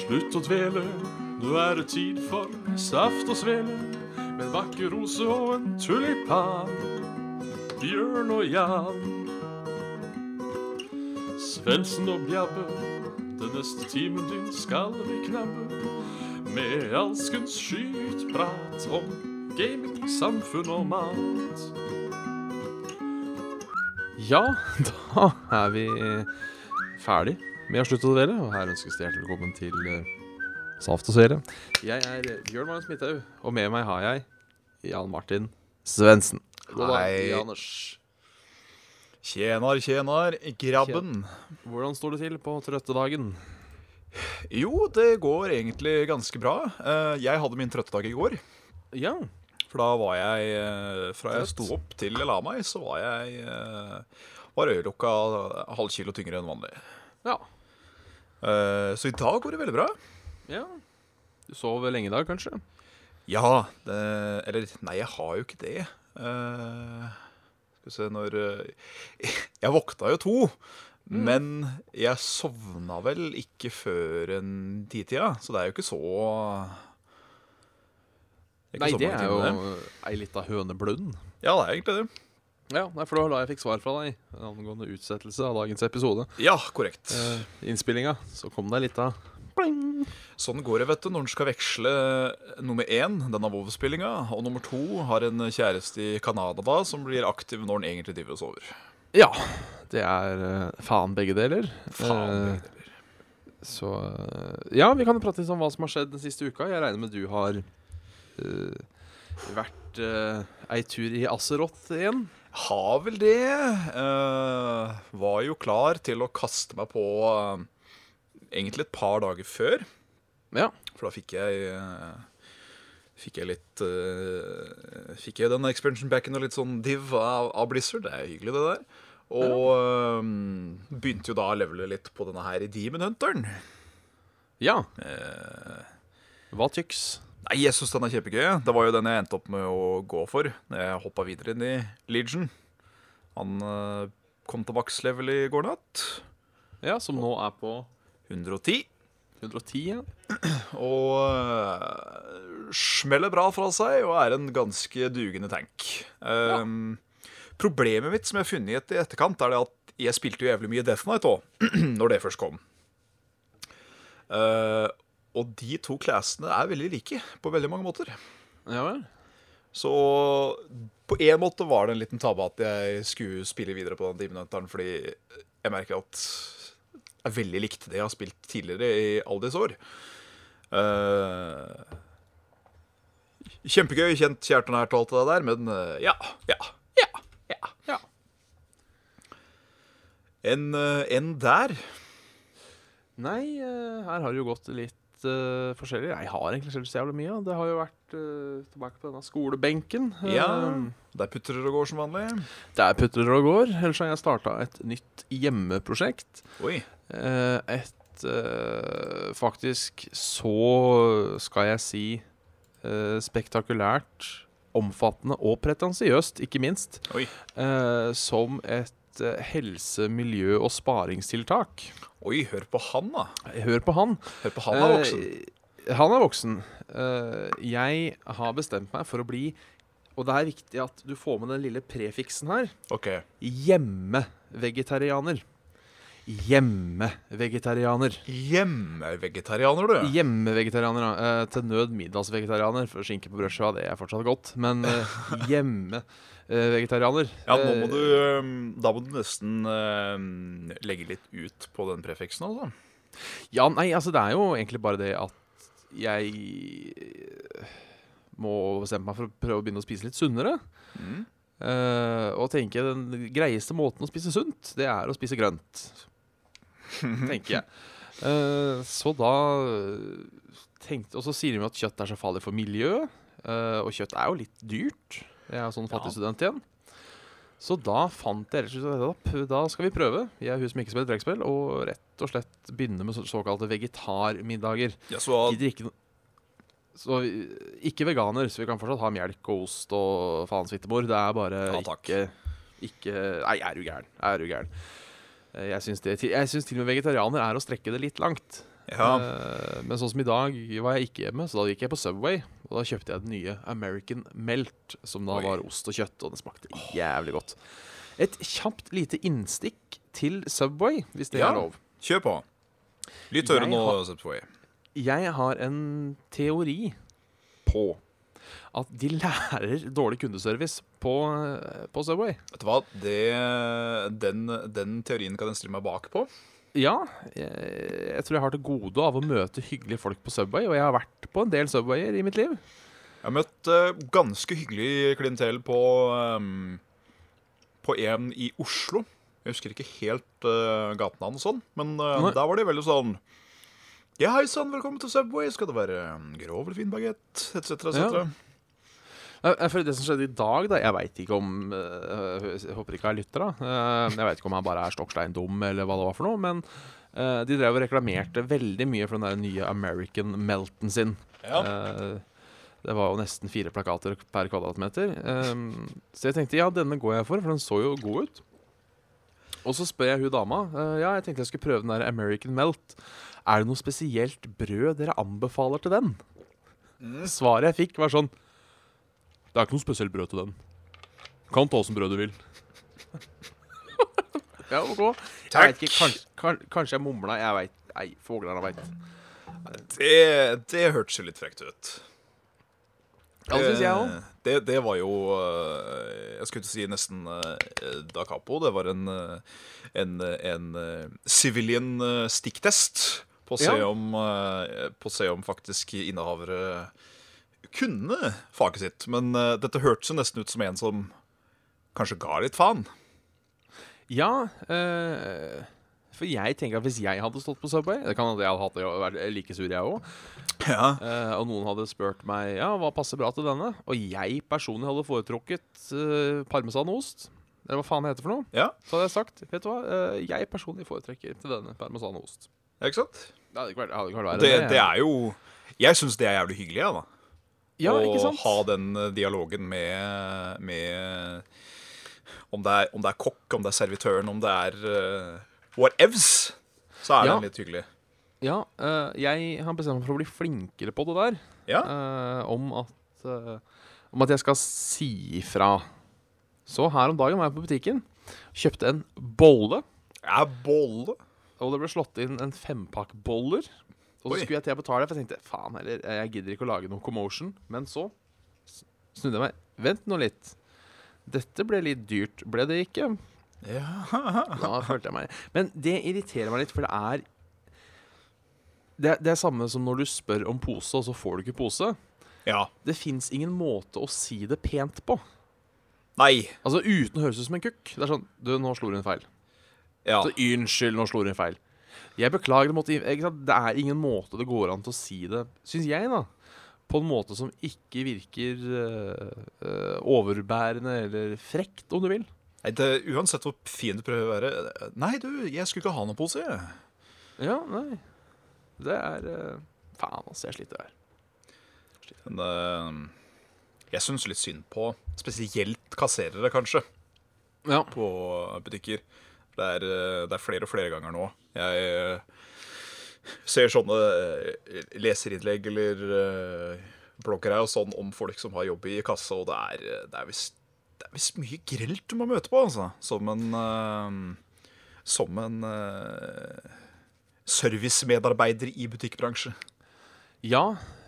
Slutt å dvele, nå er det tid for saft og svele. Med en vakker rose og en tulipan. Bjørn og Jan. Svendsen og Bjabbe, den neste timen din skal vi knabbe. Med alskens skytprat om gaming, samfunn og mat. Ja, da er vi ferdig med å slutte å dvele, og her ønskes det hjertelig velkommen til eh, Saft og Svele. Jeg er eh, Bjørn Magnus Midthaug, og med meg har jeg Jan Martin Svendsen. God dag, Hei. Janers. Tjenar, tjenar, grabben. Hvordan står det til på trøttedagen? Jo, det går egentlig ganske bra. Eh, Jeg hadde min trøttedag i går. Ja, For da var jeg eh, Fra jeg sto Trøtt. opp til jeg la meg, så var jeg eh, Var øyelokka halv kilo tyngre enn vanlig. ja, Eh, Så i dag går det veldig bra. ja. Du sov lenge i dag, kanskje? Ja, det, eller nei, jeg har jo ikke det. Eh, skal vi se når eh, Jeg våkna jo to, Mm. men jeg sovna vel ikke før en titida, så det er jo ikke så det er ikke Nei, så det mange er jo timer, ei lita høneblund. Ja, det er egentlig det. Ja, nei, for det var da jeg fikk svar fra deg angående utsettelse av dagens episode. Ja, korrekt. Eh, Innspillinga, så kom det ei lita pling. Sånn går det, vet du, når en skal veksle nummer én, den av WoW-spillinga, og nummer to har en kjæreste i Canada da, som blir aktiv når den egentlig driver og sover. Ja, det er eh, faen begge deler. Faen. Eh, Så eh, Ja, vi kan jo prate litt om hva som har skjedd den siste uka. Jeg regner med du har eh, vært eh, ei tur i Azeroth igjen. Har vel det. Eh, var jo klar til å kaste meg på eh, egentlig et par dager før. Ja. For da fikk jeg eh, Fikk jeg litt eh, Fikk jeg den expansion backen og litt sånn div av, av Blizzard. Det er hyggelig, det der. Og eh, begynte jo da å levele litt på denne her i Demon Hunteren. Ja. Eh, Hva tyks? nei, jeg syns den er kjempegøy. Det var jo den jeg endte opp med å gå for når jeg hoppa videre inn i Legion. Han eh, kom til maks level i går natt. Ja, som nå er på 110. 110 igjen. Og eh, smeller bra fra seg og er en ganske dugende tank. Ehm, Problemet mitt som jeg har funnet i et- i etterkant, er det at jeg spilte jo jævlig mye Death Knight òg, når det først kom. Eh, og de to classene er veldig like på veldig mange måter. Ja vel? Så på én måte var det en liten tabbe at jeg skulle spille videre på den Dimenhunteren, fordi jeg merker at det er veldig likt det jeg har spilt tidligere i alle disse år. Eh, kjempegøy, kjent kjært og nært og alt det der, men eh, ja, ja, ja, ja. Ja. En, eh, en der. Nei, eh, her har det jo gått litt eh, forskjellig. Jeg har egentlig skjedd så jævlig mye. da. Det har jo vært eh, tilbake på denne skolebenken. Ja, Eh, der putter det og går som vanlig. Det er putter og går. Ellers har jeg starta et nytt hjemmeprosjekt. Oi. Eh, Et eh, faktisk så, skal jeg si, eh, spektakulært, omfattende og pretensiøst, ikke minst, Oi. eh, som et eh, helse-, miljø- og sparingstiltak. Oi, hør på han, da. Hør på han. Hør på han er voksen. Eh, han er voksen. Eh, jeg har bestemt meg for å bli Og det er viktig at du får med den lille prefiksen her OK. hjemmevegetarianer. Hjemmevegetarianer. Hjemmevegetarianer, du. Hjemmevegetarianer, ja. Eh, til nød middagsvegetarianer, for skinke på brødskiva det er fortsatt godt. Men eh, hjemmevegetarianer eh, Ja, nå må du, øhm, da må du nesten øhm, legge litt ut på den prefiksen, altså. Ja, nei, altså det er jo egentlig bare det at jeg eh, må bestemme meg for å prøve å begynne å spise litt sunnere. Mm. Eh, og tenke den greieste måten å spise sunt, det er å spise grønt. Tenker jeg. Eh, så da eh, tenkte Og så sier de jo at kjøtt er så farlig for miljøet. eh, og kjøtt er jo litt dyrt. Jeg er sånn fattig Ja. student igjen. Så da fant jeg rett og slett ut at da skal vi prøve, jeg og hun som ikke spiller trekkspill, og rett og slett begynne med så- såkalte vegetarmiddager. Ja, så Gidder ikke noe så vi- ikke veganer, så vi kan fortsatt ha melk og ost og faen svittemor. Det er bare Ja, takk. ikke, ikke Nei, er du gæren. Er du gæren. Eh, Jeg syns det- jeg syns til og med vegetarianer er å strekke det litt langt. Ja. Eh, men sånn som i dag var jeg ikke hjemme, så da gikk jeg på Subway. Og da kjøpte jeg den nye American Melt, som da Oi. var ost og kjøtt. Og den smakte jævlig godt. Et kjapt lite innstikk til Subway, hvis det Ja. er lov. Kjør på. Lytt Jeg øret nå, har- Subway. Jeg har en teori på at de lærer dårlig kundeservice på, på Subway. Vet du hva? Det, den, den teorien kan jeg stille meg bak på. Ja, jeg, jeg tror jeg har til gode av å møte hyggelige folk på Subway, og jeg har vært på en del Subwayer i mitt liv. Jeg har møtt eh, ganske hyggelig klientell på ehm, På en i Oslo. Jeg husker ikke helt eh, gatenavn og sånn, men eh, Nei. der var de veldig sånn Ja, hei sann, velkommen til Subway. Skal det være eh, grov eller fin bagett? Etc., etc. Ja. Nei, nei, For det som skjedde i dag, da Jeg veit ikke om eh, Jeg håper ikke jeg lytter, da. Eh, jeg veit ikke om han bare er stokkstein dum, eller hva det var for noe. Men eh, de drev og reklamerte veldig mye for den der nye American Melton sin. Eh, det var jo nesten fire plakater per kvadratmeter. Eh, så jeg tenkte ja, denne går jeg for, for den så jo god ut. Og så spør jeg hun dama. eh, ja, jeg tenkte jeg skulle prøve den der American Melt. Er det noe spesielt brød dere anbefaler til den? Svaret jeg fikk, var sånn Det er ikke noe spesielt brød til den. Kan ta som brød du vil. ja, OK. Jeg vet ikke, kanskje, kan, kanskje jeg mumla. Jeg veit. Nei, fuglene veit. Det, det hørtes jo litt frekt ut. Ja, det syns jeg òg. Eh, Det, det var jo eh, Jeg skulle til å si nesten eh, da capo. Det var en, eh, en, eh, en eh, civilian eh, stikktest på å se, Ja. om, eh, på å se om faktisk innehavere kunne faget sitt. Men eh, dette hørtes jo nesten ut som en som kanskje ga litt faen. Ja, eh, for jeg tenker at hvis jeg hadde stått på Subway Det kan hende jeg hadde hatt det og vært like sur, jeg òg. Ja. og noen hadde spurt meg ja, hva passer bra til denne. Og jeg personlig hadde foretrukket eh, parmesanost. Eller hva faen det heter for noe. ja, Så hadde jeg sagt vet du hva, eh, jeg personlig foretrekker til denne parmesanost. ikke sant? Det hadde ikke vært, det hadde ikke vært verre Det, enn det er jo Jeg syns det er jævlig hyggelig, ja, da. ja, og ikke sant? ha den eh, dialogen med, med om, det er, om det er kokk, om det er servitøren, om det er uh, whatevs, så er Ja. den litt hyggelig. Ja, eh, jeg har bestemt meg for å bli flinkere på det der. Ja, eh, om, at, eh, om at jeg skal si ifra. Så her om dagen var jeg på butikken, kjøpte en bolle, er bolle og det ble slått inn en fempakk boller. Og så Oi. skulle jeg til å betale, for jeg tenkte faen heller, eh, jeg gidder ikke å lage noe commotion. Men så s- snudde jeg meg. Vent nå litt. Dette ble litt dyrt, ble det ikke? ja. Da følte jeg meg Men det irriterer meg litt, for det er det, det er samme som når du spør om pose, og så får du ikke pose. ja. Det fins ingen måte å si det pent på. Nei. Altså uten å høres ut som en kukk. Det er sånn Du, nå slo du en feil. Ja. Så unnskyld, nå slo du en feil. Jeg beklager, det, måtte, ikke sant? det er ingen måte det går an til å si det, syns jeg, da. På en måte som ikke virker eh, eh, overbærende eller frekt, om du vil. Nei, Det, uansett hvor fin du prøver å være eh, Nei, du, jeg skulle ikke ha noen pose. jeg. Ja, nei. Det er eh, Faen, altså. Jeg sliter her. Men eh, jeg syns litt synd på spesielt kasserere, kanskje. Ja. på butikker. Det er, eh, det er flere og flere ganger nå. Jeg eh, ser sånne eh, leserinnlegg eller eh, blogger her og sånn om folk som har jobb i kassa, og det er, eh, det er visst det er visst mye grelt du må møte på, altså. Som en eh, Som en eh, servicemedarbeider i butikkbransje. Ja,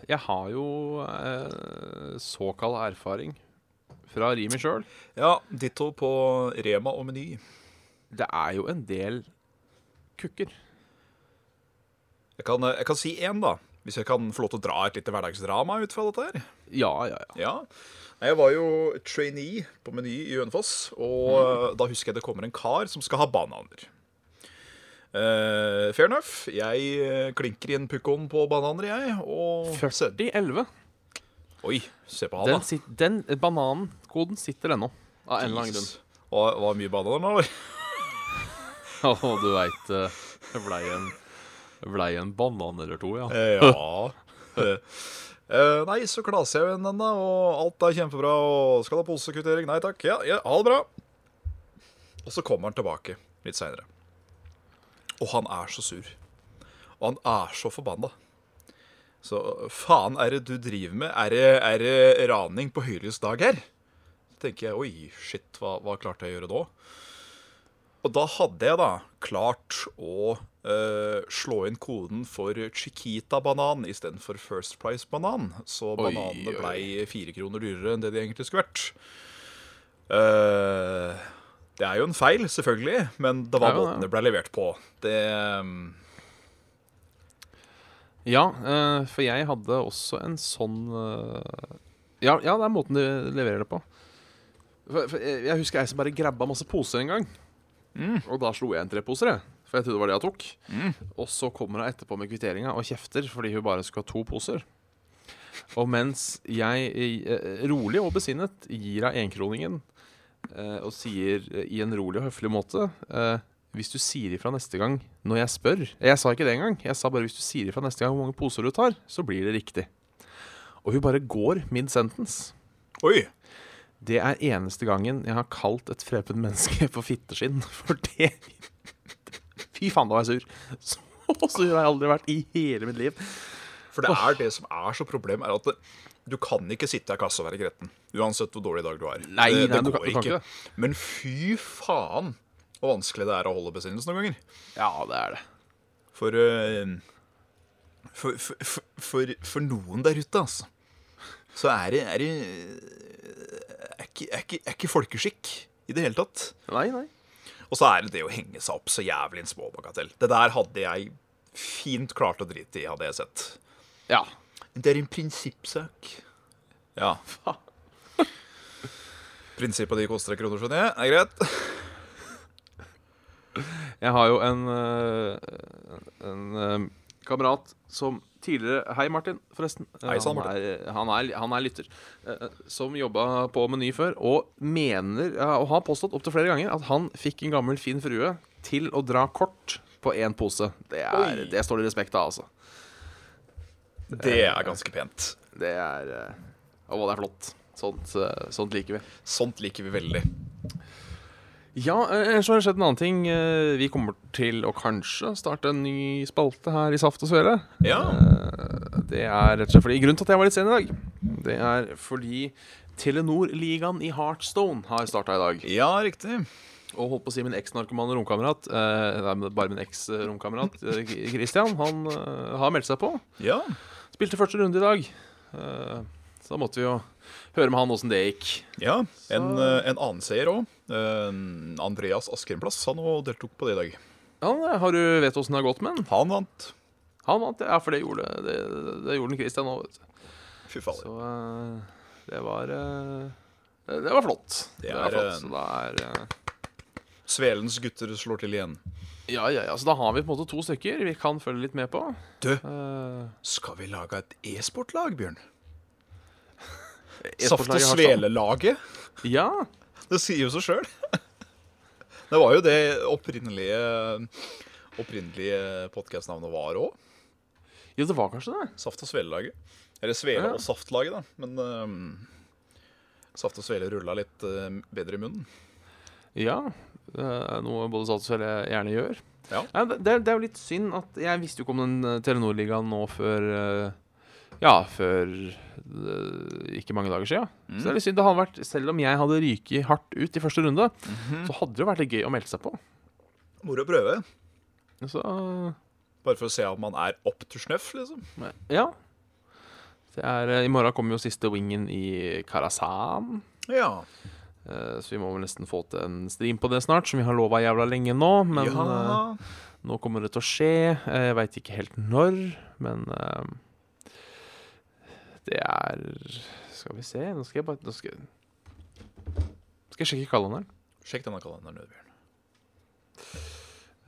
jeg har jo eh, såkalt erfaring fra Rimi sjøl. Ja, ditto på Rema og Meny. Det er jo en del kukker. Jeg kan, eh, jeg kan si én, da. Hvis jeg kan få lov til å dra et lite hverdagsdrama ut fra dette her. Ja, ja, ja. Ja. Nei, Jeg var jo trainee på Meny i Hønefoss, og Mm. eh, da husker jeg det kommer en kar som skal ha bananer. Eh, fair enough. Jeg eh, klinker i en pukkon på bananer, jeg. Og se- 4011. Oi, se på han, Den, da. sit, den eh, banankoden sitter ennå. Av en eller annen grunn. Jesus. Var, var mye bananer nå, eller? Og du veit det blei en, blei en banan eller to, ja. Eh, Ja. Eh, nei, så klaser jeg jo igjen den, da, og alt er kjempebra. Og skal du ha posekvittering? Nei takk. Ja, ja, ha det bra. Og så kommer han tilbake litt seinere. Og han er så sur. Og han er så forbanna. Så faen er det du driver med? Er det, er det raning på høylysdag her? Så tenker jeg oi, shit, hva, hva klarte jeg å gjøre da? Og da hadde jeg da klart å eh, slå inn koden for Chiquita-banan istedenfor First Price-banan. Så Oi, bananene oi. blei fire kroner dyrere enn det de egentlig skulle vært. Eh, det er jo en feil, selvfølgelig, men det Ja, var ja. måten det blei levert på. Det mm, Ja, eh, for jeg hadde også en sånn eh, ja, ja, det er måten de leverer det på. For, for jeg jeg husker jeg som bare grabba masse poser en gang. Og da slo jeg en treposer, jeg. For jeg trodde det var det jeg tok. Og så kommer hun etterpå med kvitteringa og kjefter fordi hun bare skulle ha to poser. Og mens jeg eh, rolig og besinnet gir henne enkroningen eh, og sier eh, i en rolig og høflig måte eh, Hvis du sier ifra neste gang når jeg spør Jeg sa ikke det engang. Jeg sa bare hvis du sier ifra neste gang hvor mange poser du tar, så blir det riktig. Og hun bare går mid sentence. Oi! Det er eneste gangen jeg har kalt et fremmed menneske for fitteskinn. For det Fy faen, da var jeg sur. Så sur har jeg aldri vært i hele mitt liv. For det er det som er så problem, er at det, du kan ikke sitte i kassa og være gretten. Uansett hvor dårlig dag du har. Nei, det, det nei, du går kan- du kan ikke det. Men fy faen hvor vanskelig det er å holde besinnelsen noen ganger. Ja, det er det. For, eh, for, for, for, for, for noen der ute, altså, så er det, er det er ikke, er, ikke, er ikke folkeskikk i det hele tatt. Nei, nei. Og så er det det å henge seg opp så jævlig en småbagatell. Det der hadde jeg fint klart å drite i, hadde jeg sett. Ja. Det er en prinsippsak. Ja. Prinsippet de koster en kroner, skjønner jeg. Er greit. Jeg har jo en, øh, en øh, kamerat som tidligere Hei, Martin, forresten. Eh, Hei sann, han, er, han, er, han er lytter. eh, Som jobba på Meny før, og mener, ja, og har påstått opptil flere ganger, at han fikk en gammel, fin frue til å dra kort på én pose. Det, er, Oi. det står det respekt av, altså. Det er ganske pent. Det er eh, Å, det er flott. Sånt, eh, sånt liker vi. Sånt liker vi veldig. Ja, eh, ellers har det skjedd en annen ting. Eh, Vi kommer til å kanskje starte en ny spalte her i Saft og Svele. Ja. Eh, Det er rett og slett fordi Grunnen til at jeg var litt sen i dag, det er fordi Telenor-ligaen i Heartstone har starta i dag. Ja, riktig. Og holdt på å si min eksnarkomane romkamerat eh, Nei, men bare min eks-romkamerat eh, Christian. Han eh, har meldt seg på. Ja. Spilte første runde i dag. Eh, så da måtte vi jo høre med han åssen det gikk. ja. En, eh, en annen seier òg. Andreas Askrimplass han også deltok på det i dag. Ja, eh, har du vet åssen det har gått med han? Han vant. Han vant, ja, for det gjorde, det, det gjorde den Christian òg, vet du. Fy fader. Så eh, det var eh, det, det var flott. Det var er, flott. Så da er eh, Svelens gutter slår til igjen. Ja, ja, ja, så da har vi på en måte to stykker vi kan følge litt med på. Du, Eh, skal vi lage et e-sportlag, Bjørn? Saft- og e-sportlaget har sånn- sammen- Svelelaget? Ja. Det sier jo seg sjøl. Det var jo det opprinnelige Opprinnelige podkastnavnet var òg. Jo, det var kanskje det. Saft- og svelelaget. Eller Svele- Ja. og Saftlaget, da. Men ehm, Saft og Svele rulla litt eh, bedre i munnen. Ja. Det er noe både Sats og Felle gjerne gjør. Ja. Nei, det, det er- det er jo litt synd at jeg visste jo ikke om den eh, Telenor-ligaen nå før eh, Ja, før eh, ikke mange dager siden. Så det Mm. er litt synd. Det hadde vært, selv om jeg hadde ryket hardt ut i første runde, Mhm. så hadde det jo vært litt gøy å melde seg på. Moro å prøve. Så eh, Bare for å se om man er up to snuff, liksom. ja. Det er, eh, I morgen kommer jo siste wingen i Karasan. Ja. Eh, Så vi må vel nesten få til en stream på det snart, som vi har lova jævla lenge nå. Men eh, ja. nå kommer det til å skje. Eh, Jeg veit ikke helt når, men eh, det er Skal vi se, nå skal jeg bare Nå skal, skal jeg sjekke kalenderen. Sjekk denne kalenderen, Bjørn.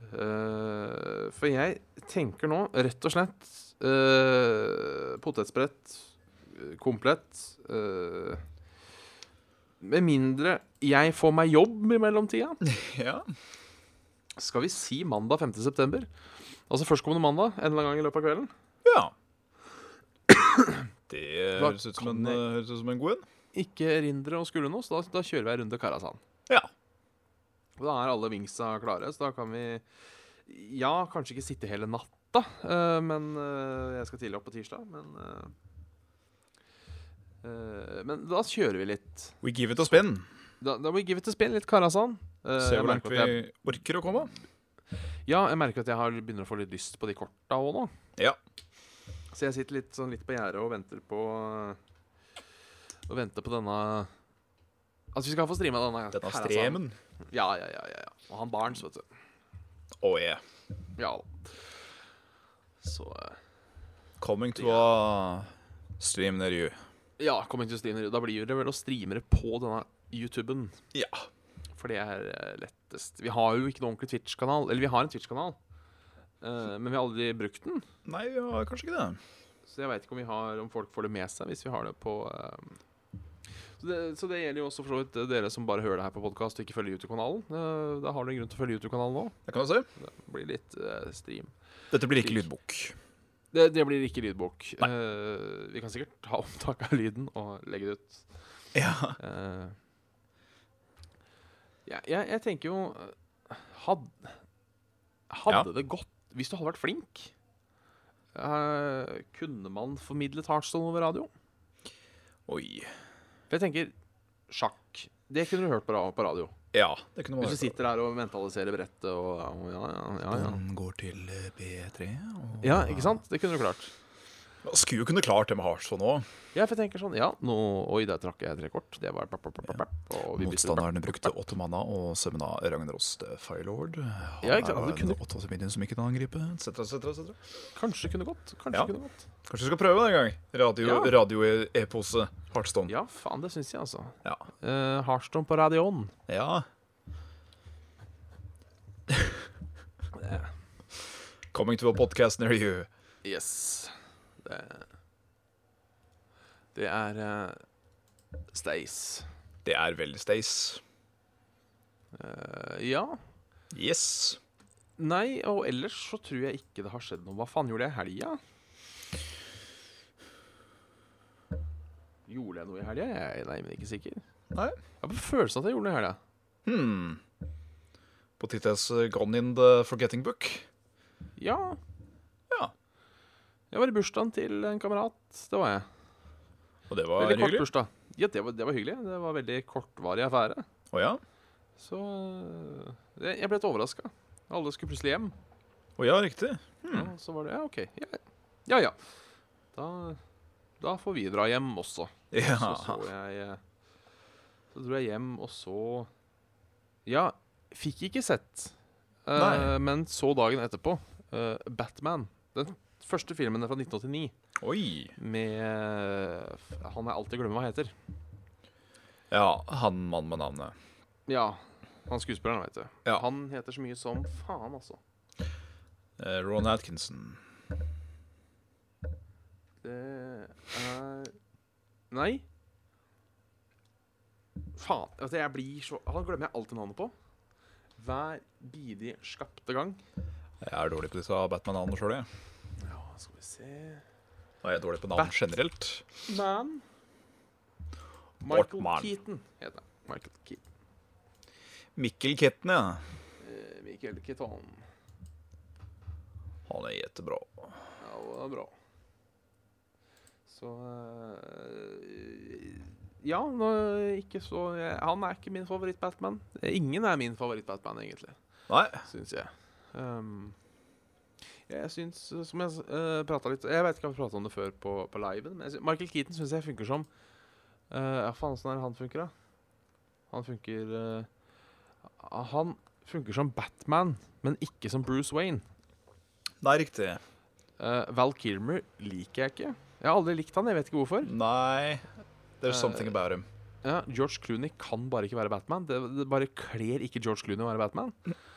Eh, for jeg tenker nå rett og slett eh, potetsbrett eh, komplett. eh, med mindre jeg får meg jobb i mellomtida. Ja. Skal vi si mandag 5. september? Altså førstkommende mandag en eller annen gang i løpet av kvelden? ja. Det Da høres ut som kan en, eh, jeg- høres ut som en god en. Ikke erindre og skulle noe, så da, da kjører vi en runde Karasan. Ja. Og Da er alle wingsa klare, så da kan vi Ja, kanskje ikke sitte hele natta, natta. eh, men eh, jeg skal tidlig opp på tirsdag. Men, eh, eh, men da kjører vi litt. We give it a spin. Da, da må vi give it a spin, litt Karasan. Eh, Se jeg hvor langt merker vi at jeg, orker å komme. ja, jeg merker at jeg har, begynner å få litt lyst på de korta òg nå. Ja. Så jeg sitter litt, sånn, litt på gjerdet og venter på Og venter på denne At vi skal få streama denne. Denne Karasan. stremen. Ja, ja, ja, ja, ja. Og han Barents, vet du. Oh yeah. Ja da. Så eh, Coming to a stream near you. Ja, coming to streamer. Da blir det vel å streamere på denne YouTuben. Ja. For det er eh, lettest. Vi har jo ikke noen ordentlig Twitch-kanal. Eller vi har en Twitch-kanal, eh, men vi har aldri brukt den. Nei, vi har kanskje ikke det. Så jeg veit ikke om, vi har, om folk får det med seg hvis vi har det på eh, så det, så det gjelder jo også for så vidt eh, dere som bare hører det her på podkast og ikke følger YouTube-kanalen. Eh, Da har du en grunn til å følge YouTube-kanalen nå. Det kan du se. Det blir litt eh, stream. Dette blir ikke lydbok. Det, det blir ikke lydbok. Eh, Vi kan sikkert ta opptak av lyden og legge det ut. Ja. Eh, ja, jeg, jeg tenker jo eh, had, Hadde det gått Hvis du hadde vært flink, eh, kunne man formidlet Heartstone over radio? Oi. For jeg tenker sjakk. Det kunne du hørt på, ra- på radio. Ja, det kunne Hvis vært du sitter der og mentaliserer brettet og, og ja, ja, ja, ja. Den går til eh, B3. Og... ja, ikke sant? Det kunne du klart. Jeg Skulle jo kunne klart det med Harson òg. Ja, for jeg tenker sånn Ja, nå Oi, der trakk jeg tre kort. Det var papp, papp, papp, papp, og vi bytter- Motstanderne brukte åttemanna og sømna Ragnaros the Firelord. Han Ja, ikke sant, er det kunne- en åttemann som ikke kan angripe, etc., etc., etc. Kanskje kunne gått. Kanskje Ja. kunne gått. Kanskje vi skal prøve det en gang? Radio- Ja. Radio-epose Heartstone. Ja, faen, det syns jeg, altså. Ja. Uh, Heartstone på radioen. Ja. Coming to a podcast near you. Yes. Det, det er eh, Stace. Det er veldig stays. Eh, ja. Yes. Nei, og ellers så tror jeg ikke det har skjedd noe. Hva faen gjorde jeg i helga? Gjorde jeg noe i helga? Jeg er nei, men ikke sikker. Nei. Jeg har på følelsen at jeg gjorde noe i helga. Hmm. På Tittes uh, Gone in the Forgetting Book. Ja. Ja. Jeg var i bursdagen til en kamerat. Det var jeg. Og det var Veldig kort hyggelig. bursdag. Ja, det var, det var hyggelig. Det var veldig kortvarig affære. Å ja. Så eh, jeg jeg ble litt overraska. Alle skulle plutselig hjem. Å ja, riktig. Hmm. Ja, så var det Ja, OK. Ja ja. ja. Da, da får vi dra hjem også. Så Ja. så jeg eh, Så dro jeg hjem, og så Ja, fikk ikke sett. eh, Nei. men så dagen etterpå eh, Batman. Den første filmen er fra 1989 Oi. med eh, Han jeg alltid glemmer hva heter. Ja, han mannen med navnet. Ja, han skuespilleren, veit du. Ja. Han heter så mye som faen, altså. Eh, Ron Atkinson. Det er Nei. Faen. Vet du, jeg blir så Han glemmer jeg alltid navnet på. Hver bidige skapte gang. Jeg er dårlig på disse Batman-navnene sjøl, jeg. Ja, skal vi se Og jeg er dårlig på navn Bat- generelt. Man. Michael Bartman. Keaton heter han. Michael Keaton. Mikkel Ketten, ja. Eh, Michael Keaton. Han er jettebra. Ja, det var bra. Så eh, Ja, nå, ikke så Han er ikke min favoritt-Batman. Ingen er min favoritt-Batman, egentlig. Nei. syns jeg. Ehm, jeg syns, eh, som jeg uh, prata litt Jeg vet ikke om vi prata om det før på, på liven, men jeg sy- Michael Keaton syns jeg funker som eh, Ja, faen, åssen er det han funker, da? Han funker eh, Han funker som Batman, men ikke som Bruce Wayne. Nei, riktig. Eh, Val Kilmer liker jeg ikke. Jeg har aldri likt han, jeg vet ikke hvorfor. Nei. There's something Eh, about him. Ja, George Clooney kan bare ikke være Batman. Det, det bare kler ikke George Clooney å være Batman.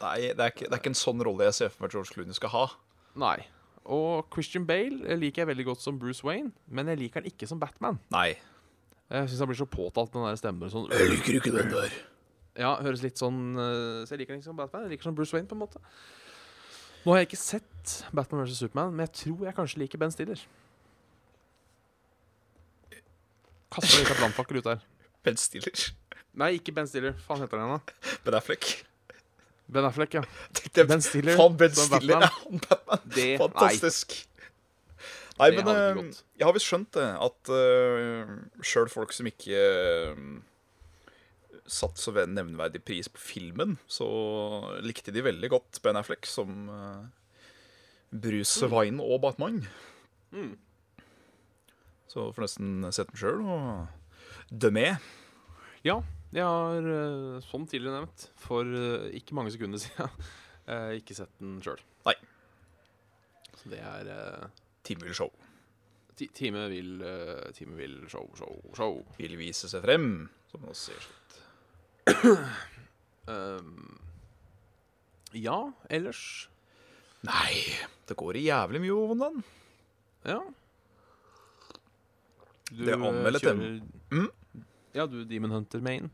Nei, det er, ikke, det er ikke en sånn rolle jeg ser for meg at George Clooney skal ha. Nei. Og Christian Bale eh, liker jeg veldig godt som Bruce Wayne, men jeg liker han ikke som Batman. Nei. Jeg syns han blir så påtalt, den der stemmen. Sånn, liker ikke den der. ja, høres litt sånn eh, Så jeg liker han ikke som Batman. Jeg liker han som Bruce Wayne, på en måte. Nå har jeg ikke sett Batman vs. Superman, men jeg tror jeg kanskje liker Ben Stiller. Kaster litt av brannfakkel ut der. Ben Stiller. Nei, ikke Ben Stiller. Faen heter han da? Ben Affleck. Ben Affleck, ja. Tenkte jeg- Ben Stiller Faen, Ben som Stiller Batman. ja, han Batman. Det- Fantastisk. Nei, Det men hadde eh, gått. jeg har visst skjønt det, at uh, sjøl folk som ikke eh, satt så ven- nevneverdig pris på filmen, så likte de veldig godt Ben Affleck som eh, Bruce Mm. Wine og Batman. Så får nesten sett den sjøl og dømme. Ja, jeg har, eh, som tidligere nevnt, for eh, ikke mange sekunder siden eh, ikke sett den sjøl. Nei. Så det er eh, Timul Show ti- Time vil, eh, time vil show, show, show. vil vise seg frem, som det også sier. Ehm, ja, ellers Nei, det går i jævlig mye om dagen. Ja. Du eh, Det anmeldet dem. Mm. Ah. Ja, du Demon Hunter Main.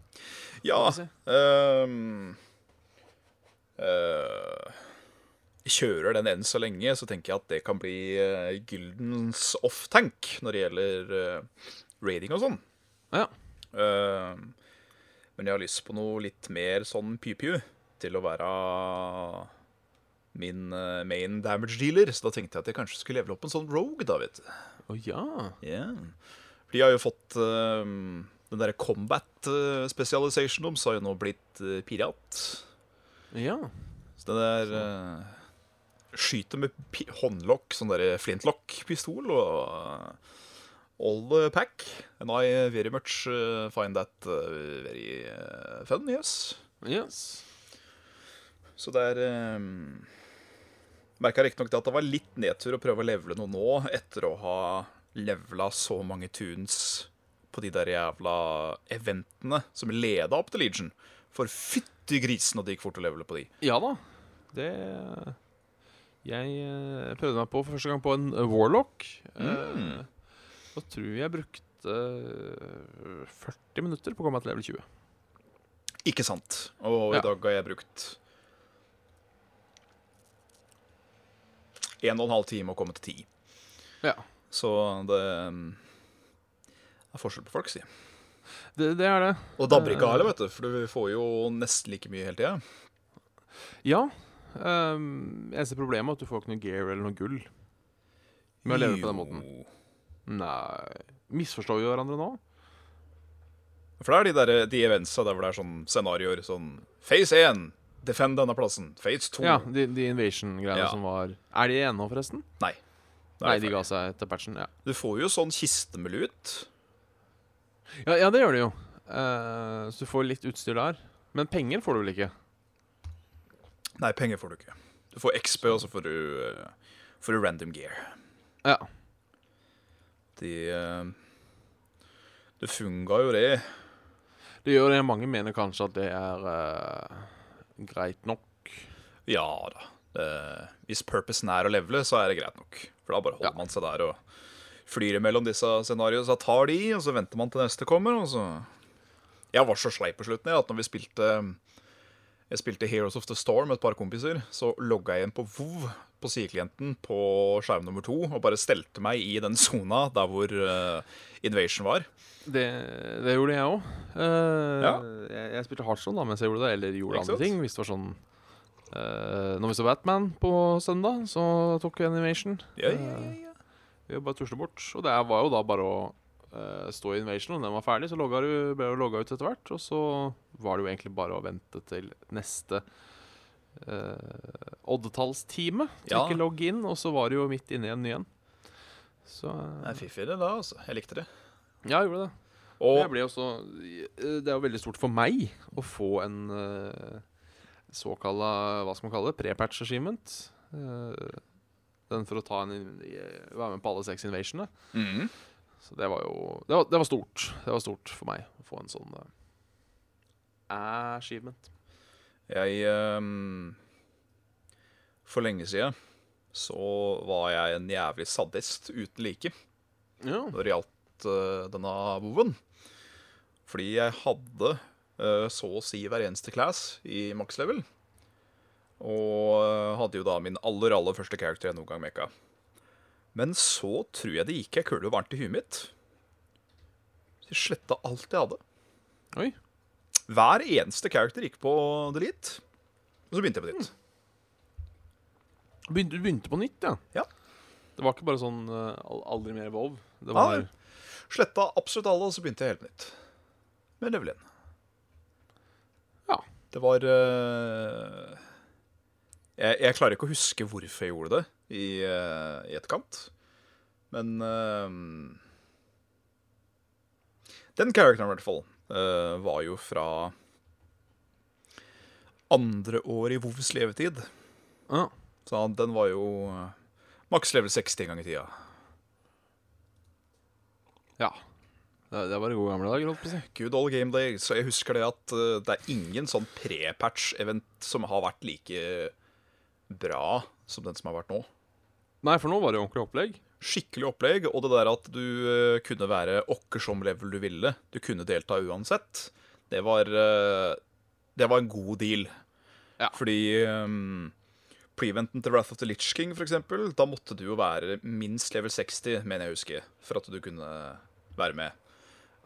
Ja. Skal vi ehm, eh, kjører den enn så lenge, så tenker jeg at det kan bli eh, Gyldens off-tank når det gjelder eh, rating og sånn. Ja. Ehm, men jeg har lyst på noe litt mer sånn pju-pju til å være min eh, main damage dealer, så da tenkte jeg at jeg kanskje skulle levele opp en sånn rogue, da, vet du. Å ja. Ja. For de har jo fått ehm, Den derre combat eh, specialization deres har jo nå blitt eh, pirat. Ja. Så det der eh, Skyter med pi håndlokk, sånn derre flintlock-pistol og eh, all the pack. And I very much eh, find that eh, very eh, fun, yes. Yes. Så det er um, Merka riktignok det at det var litt nedtur å prøve å levele noe nå, etter å ha levela så mange tunes på de der jævla eventene som leda opp til Legion. For fytti grisen, og det gikk fort å levele på de. Ja da. Det Jeg eh, prøvde meg på for første gang på en eh, warlock. Mm. Eh, og tror jeg brukte eh, 40 minutter på å komme meg til level 20. Ikke sant? Og i Ja. dag har jeg brukt en og en halv time å komme til ti. Ja. Så det um, er forskjell på folk, si. Det, det er det. Og dabber ikke av heller, vet du, for du får jo nesten like mye hele tida. Ja. Um, eneste problemet er at du får ikke noe gear eller noe gull med å leve på den måten. Jo. Nei Misforstår vi hverandre nå? For det er de, der, de eventsa der hvor det er sånn scenarioer sånn Phase 1, defend denne plassen. Phase 2 Ja, de, de Invasion-greiene Ja. som var Er de ennå, forresten? Nei. Da Nei, er det de ferdig. ga seg etter patchen. Ja, Du får jo sånn kiste med lut. ja, ja det gjør de jo. Eh, så du får litt utstyr der. Men penger får du vel ikke? Nei, penger får du ikke. Du får XP, og så får du, eh, får du random gear. Ja. De eh, Det funga jo, det. Det gjør det. Mange mener kanskje at det er eh, greit nok. Ja da. Eh, hvis purposen er å levele, så er det greit nok. For da bare holder Ja. man seg der og flyr imellom disse scenarioene. Så tar de, og så venter man til neste kommer, og så Jeg var så sleip på slutten jeg, at når vi spilte jeg spilte Heroes of the Storm med et par kompiser. Så logga jeg inn på VOV på sideklienten på skjerm nummer to og bare stelte meg i den sona der hvor eh, Invasion var. Det, det gjorde jeg òg. Ja. jeg, jeg spilte Heartstone da mens jeg gjorde det, eller gjorde Ikke andre sant? ting. Hvis det var sånn eh, Når vi så Batman på søndag, så tok vi animation. Ja, ja, Ah. ja, ja. Vi bare tusle bort. Og det var jo da bare å eh, stå i Invasion, og når den var ferdig, så logga du, ble du logga ut etter hvert. Og så var det jo egentlig bare å vente til neste uh, oddetallstime. Ja. Trykke logg inn, og så var det jo midt inne i en ny en. Så Det eh, er fiffig, det da. altså. Jeg likte det. ja, jeg gjorde det. Og jeg Og ble også eh, Det er jo veldig stort for meg å få en uh, såkalla Hva skal man kalle det? Prepatch achievement. Eh, den for å ta en, in- i- være med på alle seks invasionene. Mhm. Så det var jo det var, det var stort. Det var stort for meg å få en sånn eh, achievement. Jeg ehm, For lenge siden så var jeg en jævlig sadist uten like Ja. når det gjaldt eh, denne voven. Fordi jeg hadde eh, så å si hver eneste class i max level. Og eh, hadde jo da min aller aller første character jeg noen gang mekka. Men så tror jeg det gikk ei kule varmt i huet mitt. Så jeg sletta alt jeg hadde. Oi. Hver eneste character gikk på delete. Og så begynte jeg på nytt. Begynte, du begynte på nytt, ja? Ja. Det var ikke bare sånn eh, al- aldri mer Vov. Det var Nei. Sletta absolutt alle, og så begynte jeg helt på nytt. Med level 1. Ja. Det var eh, jeg, jeg klarer ikke å huske hvorfor jeg gjorde det i, eh, i etterkant. Men eh, Den characteren, i hvert fall, eh, var jo fra andre år i Vovs levetid. ja. Så han- den var jo eh, maks level 60 en gang i tida. ja. Det, det var i gode gamle dager, holdt på å si. Good old game day. Så jeg husker det at eh, det er ingen sånn pre-patch-event som har vært like bra som den som har vært nå. Nei, for nå var det jo ordentlig opplegg. Skikkelig opplegg, og det der at du eh, kunne være åkker som level du ville. Du kunne delta uansett. Det var eh, Det var en god deal. Ja. Fordi um, preventen til Wrath of the Litch King, for eksempel, da måtte du jo være minst level 60, mener jeg å huske, for at du kunne være med.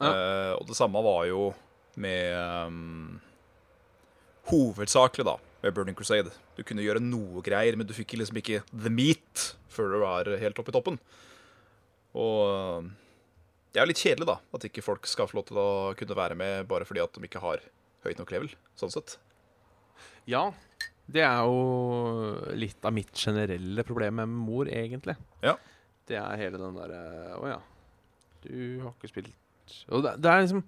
Eh, og det samme var jo med um, Hovedsakelig, da, med Burning Crusade. Du kunne gjøre noe greier, men du fikk liksom ikke the meat før du var helt oppe i toppen. Og um, det er jo litt kjedelig, da, at ikke folk skal få lov til å kunne være med bare fordi at de ikke har høyt nok level, sånn sett. Ja. Det er jo litt av mitt generelle problem med mor, egentlig. Ja. Det er hele den derre Å ja. Du har ikke spilt Og det, det er liksom